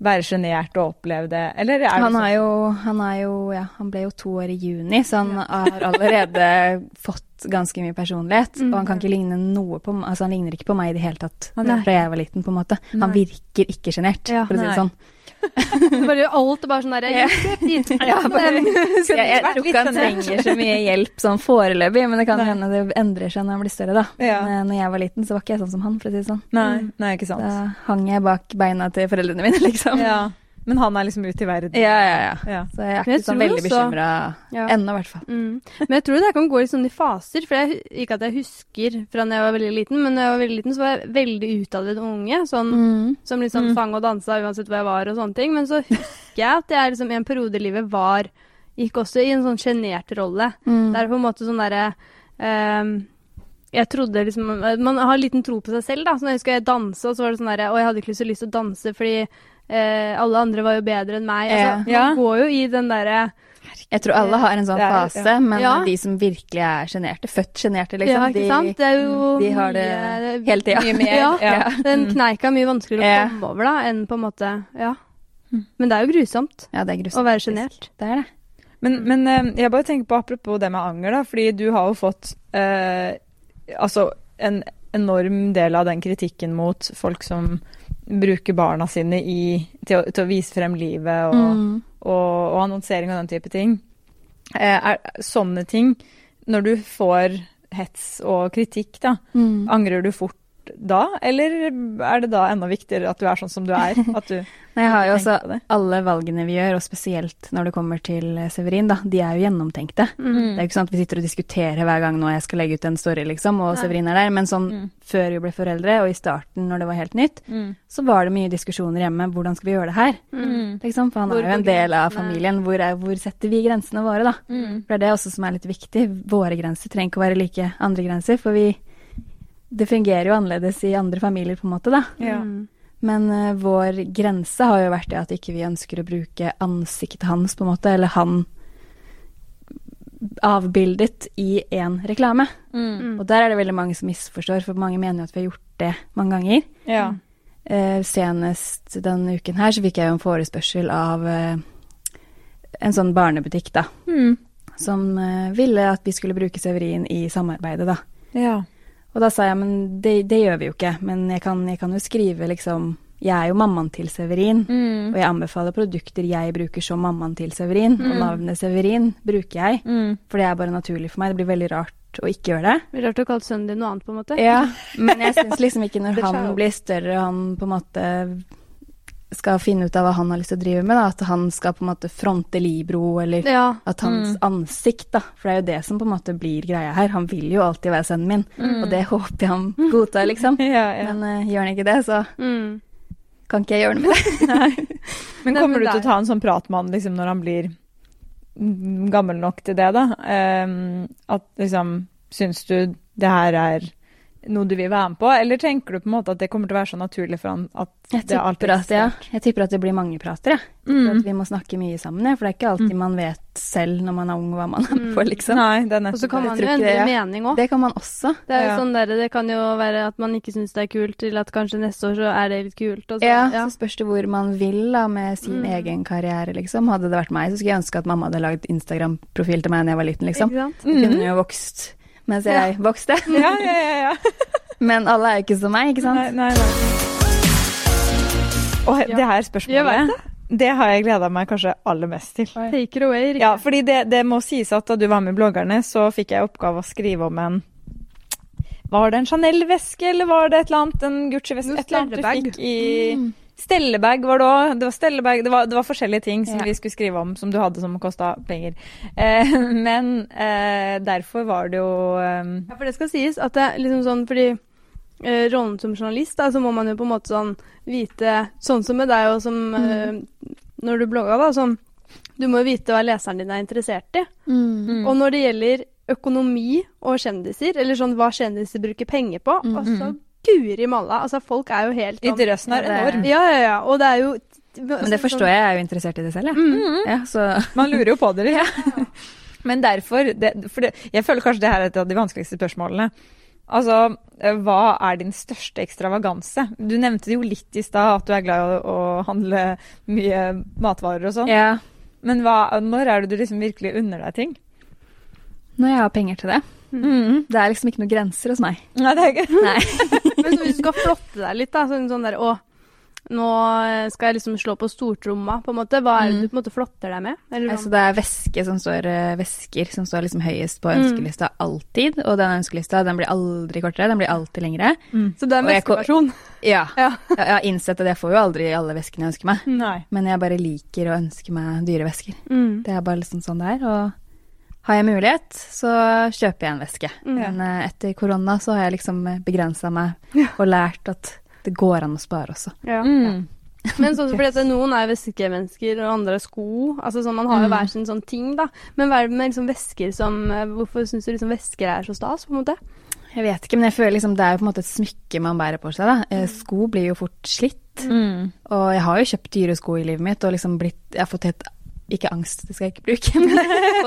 Speaker 2: være sjenert og oppleve det, eller er
Speaker 3: Han
Speaker 2: du
Speaker 3: er,
Speaker 2: sånn?
Speaker 3: jo, han er jo Ja, han ble jo to år i juni, så han har allerede fått ganske mye personlighet. Og han kan ikke ligne noe på m- Altså, han ligner ikke på meg i det hele tatt
Speaker 2: Mm. Nei.
Speaker 3: fra jeg var liten, på en måte. Han virker ikke sjenert,
Speaker 1: Ja,
Speaker 3: for å si det
Speaker 2: nei.
Speaker 3: sånn.
Speaker 1: bare gjør alt og bare sånn derre
Speaker 3: Ja, bare-
Speaker 2: Så
Speaker 3: Jeg, jeg
Speaker 2: vært
Speaker 3: tror
Speaker 2: litt
Speaker 3: ikke han
Speaker 2: sjenert.
Speaker 3: trenger så mye hjelp sånn foreløpig, men det kan
Speaker 2: Nei.
Speaker 3: hende det endrer seg når han blir større, da.
Speaker 2: Ja.
Speaker 3: Men eh, når jeg var liten, så var ikke jeg sånn som han, for å si det sånn.
Speaker 2: Nei, nei, ikke sant.
Speaker 3: Da hang jeg bak beina til foreldrene mine, liksom.
Speaker 2: Ja. Men han er liksom ute i verden.
Speaker 3: ja, ja. ja.
Speaker 2: Ja.
Speaker 3: Så jeg er
Speaker 1: Men jeg
Speaker 3: ikke
Speaker 1: tror
Speaker 3: sånn veldig
Speaker 1: også-
Speaker 3: bekymra
Speaker 1: Ja.
Speaker 3: ennå, i hvert fall.
Speaker 1: Mm. Men jeg tror det her kan gå litt sånn i faser, for jeg, ikke at jeg husker fra da jeg var veldig liten, men da jeg var veldig liten, så var jeg veldig utadvendt unge. Sånn
Speaker 3: Mm.
Speaker 1: Som liksom sang og dansa uansett hvor jeg var og sånne ting. Men så husker jeg at jeg liksom i en periode i livet var Gikk også i en sånn sjenert rolle.
Speaker 3: Mm.
Speaker 1: Det er på en måte sånn derre ehm, Jeg trodde liksom Man har liten tro på seg selv, da. Så når jeg husker jeg dansa, og så var det sånn derre Å, jeg hadde ikke lyst, så lyst til å danse fordi eh, alle andre var jo bedre enn meg. Altså,
Speaker 2: Ja.
Speaker 1: Man går jo i den derre
Speaker 3: Jeg tror alle har en sånn
Speaker 2: Det er-
Speaker 3: fase,
Speaker 2: ja.
Speaker 3: men
Speaker 1: Ja.
Speaker 3: de som virkelig er sjenerte, født sjenerte, liksom, mm,
Speaker 1: Ja, ikke sant? Det er jo
Speaker 3: de, de har det
Speaker 1: mye-
Speaker 3: hele tida.
Speaker 2: Mye mer.
Speaker 1: Ja.
Speaker 2: Ja.
Speaker 1: Den kneika er mye vanskeligere å
Speaker 3: Ja. Mm.
Speaker 1: komme over da, enn på en måte Ja. Men det er jo grusomt
Speaker 3: Ja, det er grusomt.
Speaker 1: å være sjenert.
Speaker 3: faktisk. Det er det.
Speaker 2: Men, men eh, jeg bare tenker på apropos det med anger, da. Fordi du har jo fått eh, altså en enorm del av den kritikken mot folk som bruker barna sine i, til, å, til å vise frem livet og,
Speaker 3: Mm.
Speaker 2: og, og annonsering og den type ting. Eh, er, sånne ting, når du får hets og kritikk, da,
Speaker 3: Mm.
Speaker 2: angrer du fort da? Eller er det da enda viktigere at du er sånn som du er? At du
Speaker 3: Men jeg har jo også
Speaker 2: tenker på det?
Speaker 3: alle valgene vi gjør, og spesielt når det kommer til eh, Severin, da, de er jo gjennomtenkte.
Speaker 1: Mm.
Speaker 3: Det er jo ikke sånn at vi sitter og diskuterer hver gang nå jeg skal legge ut en story, liksom, og Severin er der, men sånn før vi ble foreldre, og i starten når det var helt nytt,
Speaker 2: Mm.
Speaker 3: så var det mye diskusjoner hjemme, hvordan skal vi gjøre det her?
Speaker 1: Mm.
Speaker 3: Liksom, for han
Speaker 1: Hvor
Speaker 3: er jo
Speaker 1: går
Speaker 3: en del av
Speaker 1: grensene?
Speaker 3: familien. Hvor, er, hvor setter vi grensene våre, da?
Speaker 2: Mm.
Speaker 3: For det er det også som er litt viktig. Våre grenser trenger ikke å være like andre grenser, for vi Det fungerer jo annerledes i andre familier, på en måte, da.
Speaker 2: Ja.
Speaker 1: Mm.
Speaker 3: Men eh, vår grense har jo vært det at ikke vi ønsker å bruke ansiktet hans, på en måte, eller han avbildet i én reklame.
Speaker 1: Mm.
Speaker 3: Og der er det veldig mange som misforstår, for mange mener jo at vi har gjort det mange ganger.
Speaker 2: Ja.
Speaker 3: Eh, senest denne uken her så fikk jeg jo en forespørsel av eh, en sånn barnebutikk, da. Som eh, ville at vi skulle bruke Severin i samarbeidet, da.
Speaker 2: Ja.
Speaker 3: Og da sa jeg men det, det gjør vi jo ikke, men jeg kan, jeg kan jo skrive liksom Jeg er jo mammaen til Severin,
Speaker 2: Mm.
Speaker 3: og jeg anbefaler produkter jeg bruker som mammaen til Severin, og navnet Severin bruker jeg, for det er bare naturlig for meg. Det blir veldig rart å ikke gjøre det.
Speaker 1: Blir rart å kalle sønnen din noe annet, på en måte.
Speaker 3: Ja, men jeg syns liksom ikke når
Speaker 2: The
Speaker 3: han
Speaker 2: child.
Speaker 3: blir større og han på en måte skal finne ut av hva han har lyst til å drive med, da, at han skal på en måte fronte Libro, eller
Speaker 1: Ja.
Speaker 3: at
Speaker 2: Mm.
Speaker 3: hans ansikt, da, for det er jo det som på en måte blir greia her. Han vil jo alltid være sønnen min, og det håper jeg han godtar, liksom.
Speaker 2: ja, Mm. ja.
Speaker 3: Men eh, gjør han ikke det, så
Speaker 1: Mm.
Speaker 3: kan ikke jeg gjøre noe med det.
Speaker 2: Men
Speaker 1: Nei,
Speaker 2: kommer
Speaker 1: men
Speaker 2: du til
Speaker 1: der-
Speaker 2: å ta en sånn prat med han liksom, når han blir mm, gammel nok til det, da? Ehm, at liksom Syns du det her er noe du vil være med på, eller tenker du på en måte at det kommer til å være så naturlig for han at
Speaker 3: Jeg
Speaker 2: det
Speaker 3: tipper, at, ja, jeg tipper at det blir mange prater, jeg. jeg. tipper
Speaker 2: Mm.
Speaker 3: At vi må snakke mye sammen, jeg, for det er ikke alltid man vet selv når man er ung hva man er
Speaker 2: Mm.
Speaker 3: på, liksom.
Speaker 2: Nei, det er
Speaker 1: Og
Speaker 2: nettopp
Speaker 1: så kan man
Speaker 2: det.
Speaker 3: tror
Speaker 1: jo
Speaker 3: ikke
Speaker 1: endre
Speaker 3: det, ja.
Speaker 1: mening òg.
Speaker 3: Det kan man også.
Speaker 1: Det er jo
Speaker 2: Ja.
Speaker 1: sånn der, det kan jo være at man ikke syns det er kult, til at kanskje neste år så er det litt kult. Og så,
Speaker 3: Ja,
Speaker 1: ja.
Speaker 3: Så spørs det hvor man vil da, med
Speaker 2: Mm.
Speaker 3: sin egen karriere, liksom. Hadde det vært meg, så skulle jeg ønske at mamma hadde lagd Instagram-profil til meg da jeg var liten, liksom.
Speaker 1: Ikke sant?
Speaker 3: Jeg kunne jo vokst mens jeg vokste.
Speaker 2: Mm. Ja, ja, ja, ja.
Speaker 3: Men alle er jo ikke som meg, ikke sant?
Speaker 2: Nei, nei, nei. Og det her
Speaker 1: Jeg vet
Speaker 2: spørsmålet, det. har jeg gleda meg kanskje aller mest til.
Speaker 1: Take it away. Rikke.
Speaker 2: Ja, fordi det, det må sies at da du var med i Bloggerne, så fikk jeg i oppgave å skrive om en Var det en Chanel-veske, eller var det et eller annet? En Gucci-veske?
Speaker 1: Noe
Speaker 2: Et eller annet
Speaker 1: stellebag.
Speaker 2: du fikk i
Speaker 3: Mm.
Speaker 2: Stellebag var det òg. Det var stellebag, det var, det var forskjellige ting som
Speaker 3: Ja.
Speaker 2: vi skulle skrive om som du hadde som kosta penger. Eh, men eh, derfor var det jo eh,
Speaker 1: Ja, for det skal sies at det er liksom sånn fordi eh, rollen som journalist, da, så må man jo på en måte sånn vite Sånn som med deg og som
Speaker 3: Mm.
Speaker 1: eh, når du blogga, da. Sånn Du må jo vite hva leseren din er interessert i.
Speaker 3: Mm.
Speaker 1: Og når det gjelder økonomi og kjendiser, eller sånn hva kjendiser bruker penger på,
Speaker 3: Mm.
Speaker 1: og så guri malla. Altså, folk er jo helt sånn
Speaker 2: Interessen er
Speaker 3: Ja, det-
Speaker 2: enorm.
Speaker 1: Ja, ja, ja. Og det er jo
Speaker 3: Men det forstår jeg, jeg er jo interessert i det selv, jeg. Ja, så
Speaker 2: Man lurer jo på dere. Men derfor det, for det, Jeg føler kanskje det her er et av de vanskeligste spørsmålene. Altså, eh, hva er din største ekstravaganse? Du nevnte det jo litt i stad, at du er glad i å, å handle mye matvarer og sånn.
Speaker 3: ja.
Speaker 2: Men hva, når er det du liksom virkelig unner deg ting?
Speaker 3: Når jeg har penger til det. Det er liksom ikke noen grenser hos meg.
Speaker 2: Nei, det er ikke
Speaker 3: Nei.
Speaker 1: Men så hvis du skal flotte deg litt, da, sånn, sånn der Å, nå skal jeg liksom slå på stortromma, på en måte. Hva er det du på en måte flotter deg med? Eller
Speaker 3: Altså, det er væske som står, eh, væsker som står liksom høyest på ønskelista alltid. Og den ønskelista den blir aldri kortere, den blir alltid lengre.
Speaker 1: Så du er en
Speaker 3: Og jeg kom-
Speaker 1: veskeperson?
Speaker 3: Ja.
Speaker 1: Ja.
Speaker 3: Jeg, jeg har innsett at jeg får jo aldri alle væskene jeg ønsker meg.
Speaker 2: Nei.
Speaker 3: Men jeg bare liker å ønske meg dyre væsker.
Speaker 1: Mm.
Speaker 3: Det er bare liksom sånn det er. Og har jeg mulighet, så kjøper jeg en væske.
Speaker 2: Mm.
Speaker 3: Men eh, etter korona så har jeg liksom begrensa meg og lært at det går an å spare også.
Speaker 1: Ja.
Speaker 2: Mm.
Speaker 1: Men sånn fordi at noen er veskemennesker, og andre er sko. Altså sånn, Man har jo hver sin sånn ting, da. Men hva er det med liksom vesker som eh, Hvorfor syns du liksom vesker er så stas, på en måte?
Speaker 3: Jeg vet ikke, men jeg føler liksom det er jo på en måte et smykke man bærer på seg. da. Eh, Sko blir jo fort slitt,
Speaker 2: Mm.
Speaker 3: og jeg har jo kjøpt dyre sko i livet mitt og liksom blitt Jeg har fått helt ikke angst, det skal jeg ikke bruke, men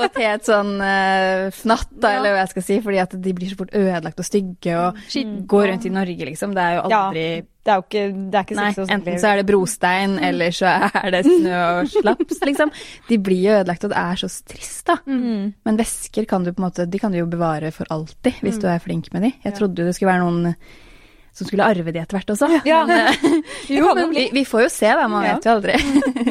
Speaker 3: fått helt sånn eh, fnatt, da,
Speaker 1: Ja.
Speaker 3: eller hva jeg skal si, fordi at de blir så fort ødelagt og stygge og
Speaker 1: Skitten.
Speaker 3: går rundt i Norge, liksom. Det er jo
Speaker 2: Mm. Ja,
Speaker 3: aldri
Speaker 2: det er jo ikke, det er ikke
Speaker 3: Nei,
Speaker 2: sexy Mm. og
Speaker 3: enten så er det brostein, eller så er det snø og slaps, liksom. De blir jo ødelagt, og det er så trist, da.
Speaker 2: Mm.
Speaker 3: Men væsker kan du på en måte, de kan du jo bevare for alltid, hvis du er flink med de. Jeg trodde jo det skulle være noen som skulle arve de etter hvert også.
Speaker 2: Ja.
Speaker 3: Men, eh,
Speaker 2: Jo, men
Speaker 3: vi, vi får jo se, da. Man
Speaker 2: Ja.
Speaker 3: vet jo aldri.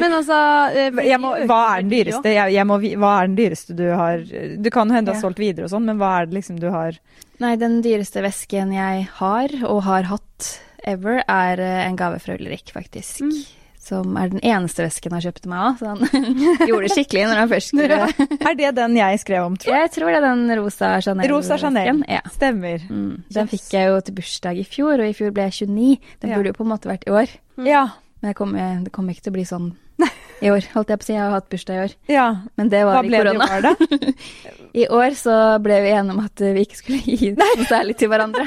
Speaker 1: Men altså eh, fordi
Speaker 2: jeg må,
Speaker 1: de øker
Speaker 2: hva er den
Speaker 1: veldig,
Speaker 2: dyreste? Jeg, jeg må, vi- hva er den dyreste du har Du kan jo hende du har
Speaker 3: Ja.
Speaker 2: solgt videre og sånn, men hva er det liksom du har
Speaker 3: Nei, den dyreste væsken jeg har, og har hatt ever, er eh, en gave fra Ulrik, faktisk.
Speaker 2: Mm.
Speaker 3: Som er den eneste væsken han kjøpte meg òg, så han gjorde det skikkelig når han først skulle
Speaker 2: Er det den jeg skrev om, tror
Speaker 3: Jeg tror det er den rosa Chanel.
Speaker 2: Rosa Chanel.
Speaker 3: Ja.
Speaker 2: Stemmer.
Speaker 3: Mm. Den fikk jeg jo til bursdag i fjor, og i fjor ble jeg 29. Den
Speaker 2: Ja.
Speaker 3: burde jo på en måte vært i år.
Speaker 2: Ja.
Speaker 3: Men jeg kom, eh, det kommer ikke til å bli sånn i år, holdt jeg på å si. Jeg har hatt bursdag i år.
Speaker 2: ja.
Speaker 3: Men det
Speaker 2: Hva
Speaker 3: var i
Speaker 2: ble det i
Speaker 3: korona.
Speaker 2: år, da?
Speaker 3: I år så ble vi enige om at eh, vi ikke skulle gi noe særlig til hverandre.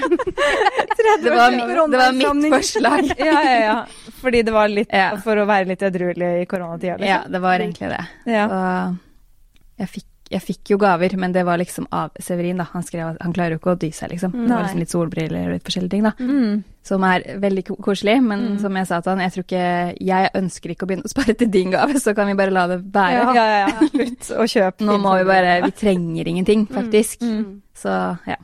Speaker 3: det, var, mi- det var mitt forslag.
Speaker 2: Ja, ja, ja. Fordi det var litt
Speaker 3: Ja.
Speaker 2: For å være litt edruelig i koronatida,
Speaker 3: Ja,
Speaker 2: liksom.
Speaker 3: det var egentlig det.
Speaker 2: Ja.
Speaker 3: Og jeg fikk, jeg fikk jo gaver, men det var liksom av Severin, da. Han skrev at han klarer jo ikke å dy seg, liksom. Det
Speaker 2: Nei.
Speaker 3: var liksom litt solbriller og litt forskjellige ting, da.
Speaker 2: Mm.
Speaker 3: som er veldig ko- koselig, men som jeg sa til han, jeg tror ikke Jeg ønsker ikke å begynne å spare til din gave, så kan vi bare la det være.
Speaker 2: Ja, ja, ja. Slutt å kjøpe.
Speaker 3: Nå må vi bare Vi trenger ingenting, faktisk.
Speaker 1: Mm.
Speaker 3: Så ja.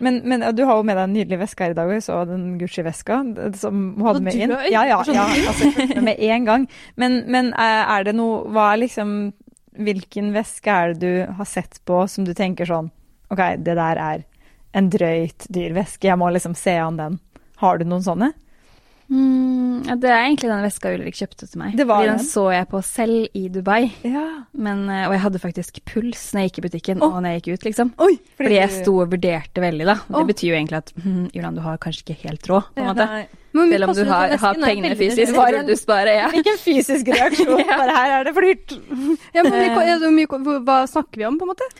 Speaker 2: Men, men ja, du har jo med deg en nydelig veske her i dag, og jeg så den Gucci-veska d- som hun hadde
Speaker 1: Og
Speaker 2: med
Speaker 1: du
Speaker 2: inn.
Speaker 1: har sånn øyne
Speaker 2: Ja, ja,
Speaker 1: for sånne
Speaker 2: ja. Altså, med en gang. Men, men eh, er det noe Hva er liksom Hvilken veske er det du har sett på som du tenker sånn OK, det der er en drøyt dyr veske, jeg må liksom se an den. Har du noen sånne?
Speaker 3: Mm, ja, det er egentlig den veska Ulrik kjøpte til meg.
Speaker 2: Det var
Speaker 3: Fordi den
Speaker 2: den.
Speaker 3: så jeg på selv i Dubai,
Speaker 2: Ja.
Speaker 3: men, eh, og jeg hadde faktisk puls når jeg gikk i butikken og når jeg gikk ut, liksom.
Speaker 2: Oi!
Speaker 3: Fordi, jeg sto og vurderte veldig, da. Og det
Speaker 1: Å.
Speaker 3: betyr jo egentlig at hm, Julian, du har kanskje ikke helt råd, på en måte.
Speaker 2: Nei.
Speaker 1: Men hvor mye
Speaker 3: Selv om
Speaker 1: koster
Speaker 3: du
Speaker 1: det for
Speaker 3: har,
Speaker 1: vesken?
Speaker 3: har
Speaker 1: Nå er jeg
Speaker 3: pengene
Speaker 1: veldig
Speaker 3: fysisk,
Speaker 1: nysgjerrig.
Speaker 3: så burde du spare, ja.
Speaker 2: Ikke en fysisk reaksjon, bare her er det flyrt.
Speaker 1: Ja, men hvor mye ko- ja, hvor mye ko- hvor- Hva snakker vi om, på en måte?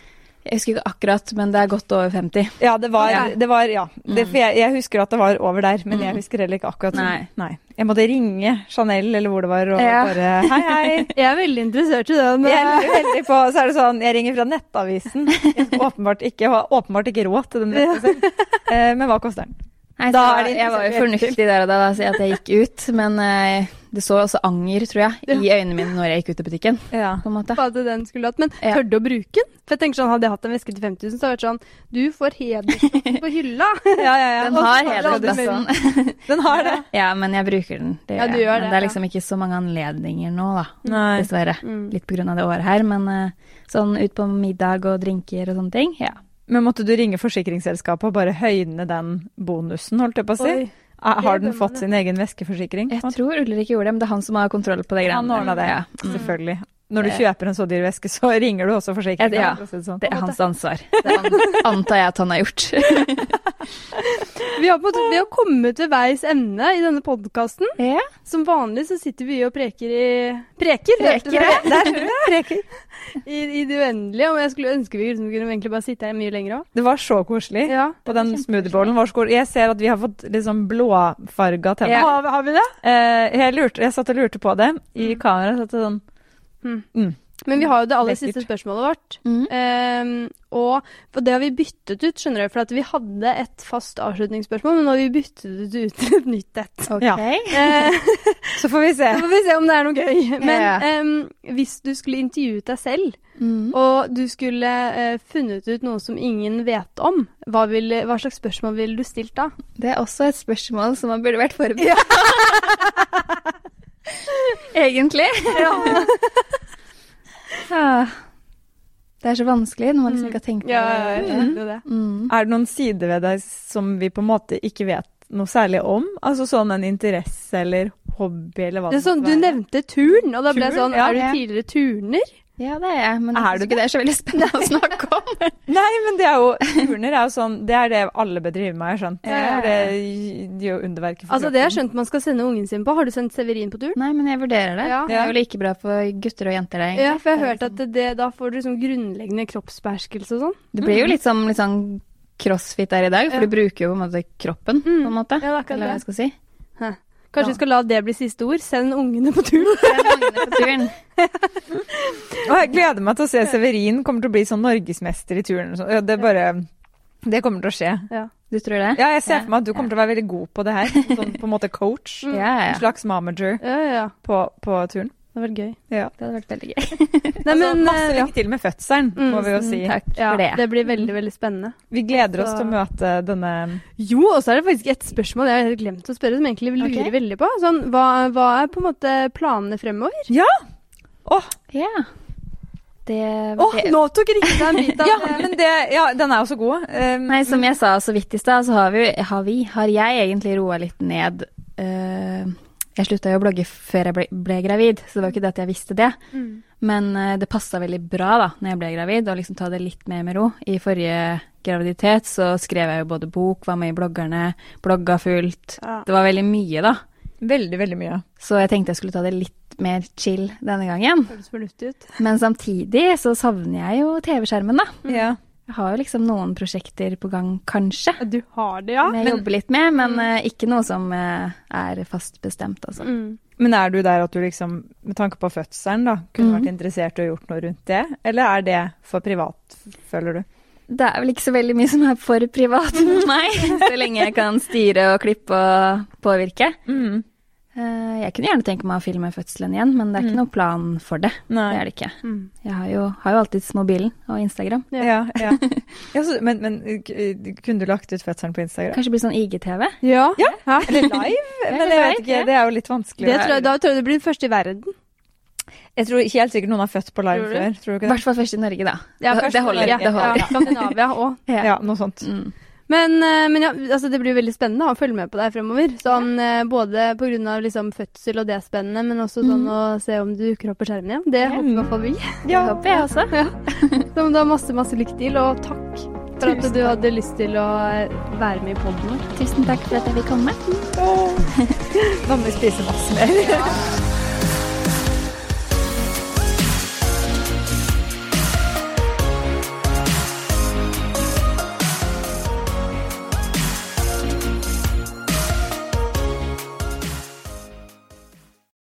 Speaker 3: Jeg husker ikke akkurat, men det er godt over 50.
Speaker 2: Ja, det var,
Speaker 3: Ja. Mm.
Speaker 2: Det var ja. Det, for jeg, jeg husker at det var over der, men jeg husker heller ikke akkurat.
Speaker 3: Nei.
Speaker 2: Jeg måtte ringe Chanel eller hvor det var, og
Speaker 3: Ja.
Speaker 2: bare hei, hei.
Speaker 1: Jeg er veldig interessert i den.
Speaker 2: Jeg er veldig på, så er det sånn, jeg ringer fra Nettavisen. Jeg skal åpenbart ikke, har åpenbart ikke råd til den rettelsen. Eh, Men hva koster den?
Speaker 3: Nei,
Speaker 2: Da
Speaker 3: så
Speaker 2: er det
Speaker 3: jeg var jo
Speaker 2: interessant.
Speaker 3: fornuftig der og da, da så at jeg gikk ut. Men eh, det så også anger, tror jeg, i øynene mine når jeg gikk ut av butikken.
Speaker 2: Ja.
Speaker 3: på en måte.
Speaker 1: Hva hadde den skulle hatt, men
Speaker 3: Ja.
Speaker 1: tørde å bruke den? For jeg tenker sånn, Hadde jeg hatt en veske til 5000, så hadde det vært sånn Du får hedersplassen på hylla!
Speaker 2: Ja, ja, ja.
Speaker 3: Den
Speaker 2: Og så
Speaker 3: har
Speaker 2: det aldri mer.
Speaker 3: hedersplassen.
Speaker 2: Den har det.
Speaker 3: Ja, men jeg bruker den. Det
Speaker 1: Ja, du
Speaker 3: jeg.
Speaker 1: gjør
Speaker 3: men
Speaker 1: det,
Speaker 3: det er
Speaker 1: ja.
Speaker 3: liksom ikke så mange anledninger nå, da.
Speaker 2: Nei.
Speaker 3: Dessverre.
Speaker 2: Mm.
Speaker 3: Litt på grunn av det året her, men eh, sånn ut på middag og drinker og sånne ting, ja.
Speaker 2: Men måtte du ringe forsikringsselskapet og bare høyne den bonusen, holdt jeg på å si?
Speaker 1: Oi.
Speaker 2: Eh, Har
Speaker 1: bør
Speaker 2: den
Speaker 1: man
Speaker 2: fått sin egen veskeforsikring?
Speaker 3: Jeg tror Ulrik gjorde det, men det er han som har kontroll på det
Speaker 2: Han
Speaker 3: greiene.
Speaker 2: ordna det,
Speaker 3: Ja.
Speaker 2: selvfølgelig. Når du kjøper en så dyr veske, så ringer du også forsikringen.
Speaker 3: Mm. Ja,
Speaker 2: for å si det sånn.
Speaker 3: Det er hans ansvar. Det an- antar jeg at han har gjort.
Speaker 1: Vi har, på, en måte- vi har kommet ved veis ende i denne podkasten.
Speaker 3: Ja.
Speaker 1: Som vanlig så sitter vi og preker i Preker! hørte
Speaker 3: Preker,
Speaker 1: dere?
Speaker 2: Der tror jeg. Reker.
Speaker 1: I, I det uendelige. Og jeg skulle ønske vi liksom kunne egentlig bare sitte her mye lenger òg.
Speaker 2: Det var så koselig.
Speaker 1: Ja.
Speaker 2: Og den smoothiebowlen var så god. Jeg ser at vi har fått liksom blåfarga tenner.
Speaker 3: Ja.
Speaker 2: Har, har vi det? Eh, jeg, lurte, jeg satt og lurte på det i
Speaker 1: Mm.
Speaker 2: kameraet. Satt jeg sånn
Speaker 1: Men vi har jo det aller
Speaker 2: Lekkert.
Speaker 1: siste spørsmålet vårt.
Speaker 3: Mm.
Speaker 1: Ehm, og for det har vi byttet ut, skjønner du. For at vi hadde et fast avslutningsspørsmål, men nå har vi byttet det ut til et nytt et.
Speaker 3: Ok.
Speaker 2: Ja.
Speaker 1: Eh,
Speaker 2: Så får vi se.
Speaker 1: Så får vi se om det er noe gøy. Men
Speaker 3: Ja.
Speaker 1: em, hvis du skulle intervjuet deg selv,
Speaker 3: Mm.
Speaker 1: og du skulle eh, funnet ut noe som ingen vet om, hva, ville, hva slags spørsmål ville du stilt da?
Speaker 3: Det er også et spørsmål som man burde vært forberedt Egentlig. Ah. Det er så vanskelig når man liksom ikke har tenkt på det.
Speaker 1: det.
Speaker 3: Mm.
Speaker 2: Er det noen sider ved deg som vi på en måte ikke vet noe særlig om? Altså sånn en interesse eller hobby eller hva
Speaker 1: Det er sånn, du
Speaker 2: måtte være?
Speaker 1: nevnte turn, og da ble jeg
Speaker 2: Turn,
Speaker 1: sånn
Speaker 2: ja.
Speaker 1: Er du tidligere turner?
Speaker 3: Ja, det er jeg, men
Speaker 2: Er
Speaker 3: jeg
Speaker 2: du
Speaker 3: syns ikke det er så veldig spennende å snakke om.
Speaker 2: Nei, men det er jo Turner er jo sånn Det er det alle bør drive med, har jeg skjønt. Det
Speaker 3: Ja.
Speaker 2: er det de gjør underverker for
Speaker 1: Altså, det har jeg
Speaker 2: kroppen.
Speaker 1: skjønt man skal sende ungen sin på. Har du sendt Severin på turn?
Speaker 3: Nei, men jeg vurderer det.
Speaker 1: Ja.
Speaker 3: Det er jo like bra for gutter og jenter, egentlig.
Speaker 1: Ja, for jeg har hørt at det, det- da får du sånn grunnleggende kroppsbeherskelse og sånn.
Speaker 3: Det blir jo litt som litt sånn crossfit der i dag, for
Speaker 1: Ja.
Speaker 3: du bruker jo på en måte kroppen, på en måte.
Speaker 1: Mm. Ja, det er akkurat
Speaker 3: Eller hva
Speaker 1: det.
Speaker 3: jeg skal si.
Speaker 1: Hæ. Kanskje vi skal la det bli siste ord? Send ungene på turn.
Speaker 3: Det er mange på turen.
Speaker 2: Og jeg gleder meg til å se Severin kommer til å bli sånn norgesmester i turn. og sånn. Ja, Det er bare Det kommer til å skje.
Speaker 1: Ja.
Speaker 3: Du tror det?
Speaker 2: Ja, jeg ser
Speaker 3: Ja.
Speaker 2: for meg at du kommer til å være veldig god på det her. Sånn på en måte coach.
Speaker 3: Ja, ja.
Speaker 2: En slags mamager
Speaker 1: Ja, ja, ja.
Speaker 2: på, på turen.
Speaker 1: Det var gøy.
Speaker 2: Ja.
Speaker 3: Det hadde vært veldig gøy.
Speaker 1: Nei, men,
Speaker 2: altså, masse
Speaker 1: eh, ja. Mm,
Speaker 2: lykke til med fødselen, må vi jo si.
Speaker 3: Takk
Speaker 1: Ja,
Speaker 3: for det.
Speaker 1: det blir veldig, veldig spennende.
Speaker 2: Vi gleder oss
Speaker 1: Så-
Speaker 2: til å møte denne
Speaker 1: Jo, og så er det faktisk et spørsmål jeg har helt glemt å spørre, som egentlig lurer
Speaker 3: Ok.
Speaker 1: veldig på. Sånn, hva, hva er på en måte planene fremover?
Speaker 2: Ja! Åh,
Speaker 3: Ja. Det
Speaker 1: Åh,
Speaker 3: det-
Speaker 1: nå tok Rikke deg en bit av
Speaker 2: ja, men det, ja, den er jo så god. Um,
Speaker 3: Nei, som jeg sa så vidt i stad, så har vi, har vi Har jeg egentlig roa litt ned eh, Jeg slutta jo å blogge før jeg ble, ble gravid, så det var jo ikke det at jeg visste det.
Speaker 1: Mm.
Speaker 3: Men eh, det passa veldig bra da når jeg ble gravid, å liksom ta det litt mer med ro. I forrige graviditet så skrev jeg jo både bok, var med i bloggerne, blogga fullt.
Speaker 1: Ja.
Speaker 3: Det var veldig mye, da.
Speaker 2: Veldig, veldig mye.
Speaker 3: Så jeg tenkte jeg skulle ta det litt mer chill denne gangen.
Speaker 1: Føles fornuftig ut.
Speaker 3: Men samtidig så savner jeg jo TV-skjermen, da.
Speaker 2: Ja.
Speaker 3: Jeg har jo liksom noen prosjekter på gang, kanskje.
Speaker 1: Du har det, ja.
Speaker 3: Som jeg jobber litt med, men eh, ikke noe som eh, er fast bestemt, altså.
Speaker 1: Mm.
Speaker 2: Men er du der at du liksom, med tanke på fødselen, da, kunne vært interessert i å gjort noe rundt det? Eller er det for privat, føler du?
Speaker 3: Det er vel ikke så veldig mye som er for privat for meg, så lenge jeg kan styre og klippe og påvirke. Eh, Jeg kunne gjerne tenke meg å filme fødselen igjen, men det er ikke noen plan for det.
Speaker 2: Nei.
Speaker 3: Det er det ikke.
Speaker 1: Mm.
Speaker 3: Jeg har jo, har jo alltids mobilen og Instagram.
Speaker 1: Ja.
Speaker 2: Ja, ja. ja så, men, men k- kunne du lagt ut fødselen på Instagram?
Speaker 3: Kanskje bli sånn IGTV?
Speaker 1: Ja.
Speaker 2: Ja.
Speaker 1: Hæ?
Speaker 2: Eller live? Men jeg vet ikke, det er jo litt vanskelig.
Speaker 1: Det tror jeg, da tror jeg det blir den første i verden.
Speaker 2: Jeg tror helt sikkert noen har født på live
Speaker 1: Tror du?
Speaker 2: før. Tror du
Speaker 3: I
Speaker 2: ikke det?
Speaker 3: hvert fall først i Norge, da.
Speaker 1: Ja,
Speaker 3: det,
Speaker 1: først
Speaker 3: det holder.
Speaker 1: Norge.
Speaker 3: Det holder.
Speaker 1: Ja, Skandinavia også.
Speaker 2: Ja, noe sånt.
Speaker 3: Mm.
Speaker 1: Men, eh, men ja, altså det blir jo veldig spennende å følge med på deg fremover. Sånn, eh, Både pga. Liksom fødsel og det spennende, men også sånn å se om du dukker opp på skjermen igjen. Det håper i hvert fall vi.
Speaker 3: Det håper jeg også.
Speaker 1: Så da masse, masse lykke til, og takk for at du hadde lyst til å eh, være med i podden vår.
Speaker 3: Tusen takk for at jeg fikk komme.
Speaker 2: Da må vi spise masse mer.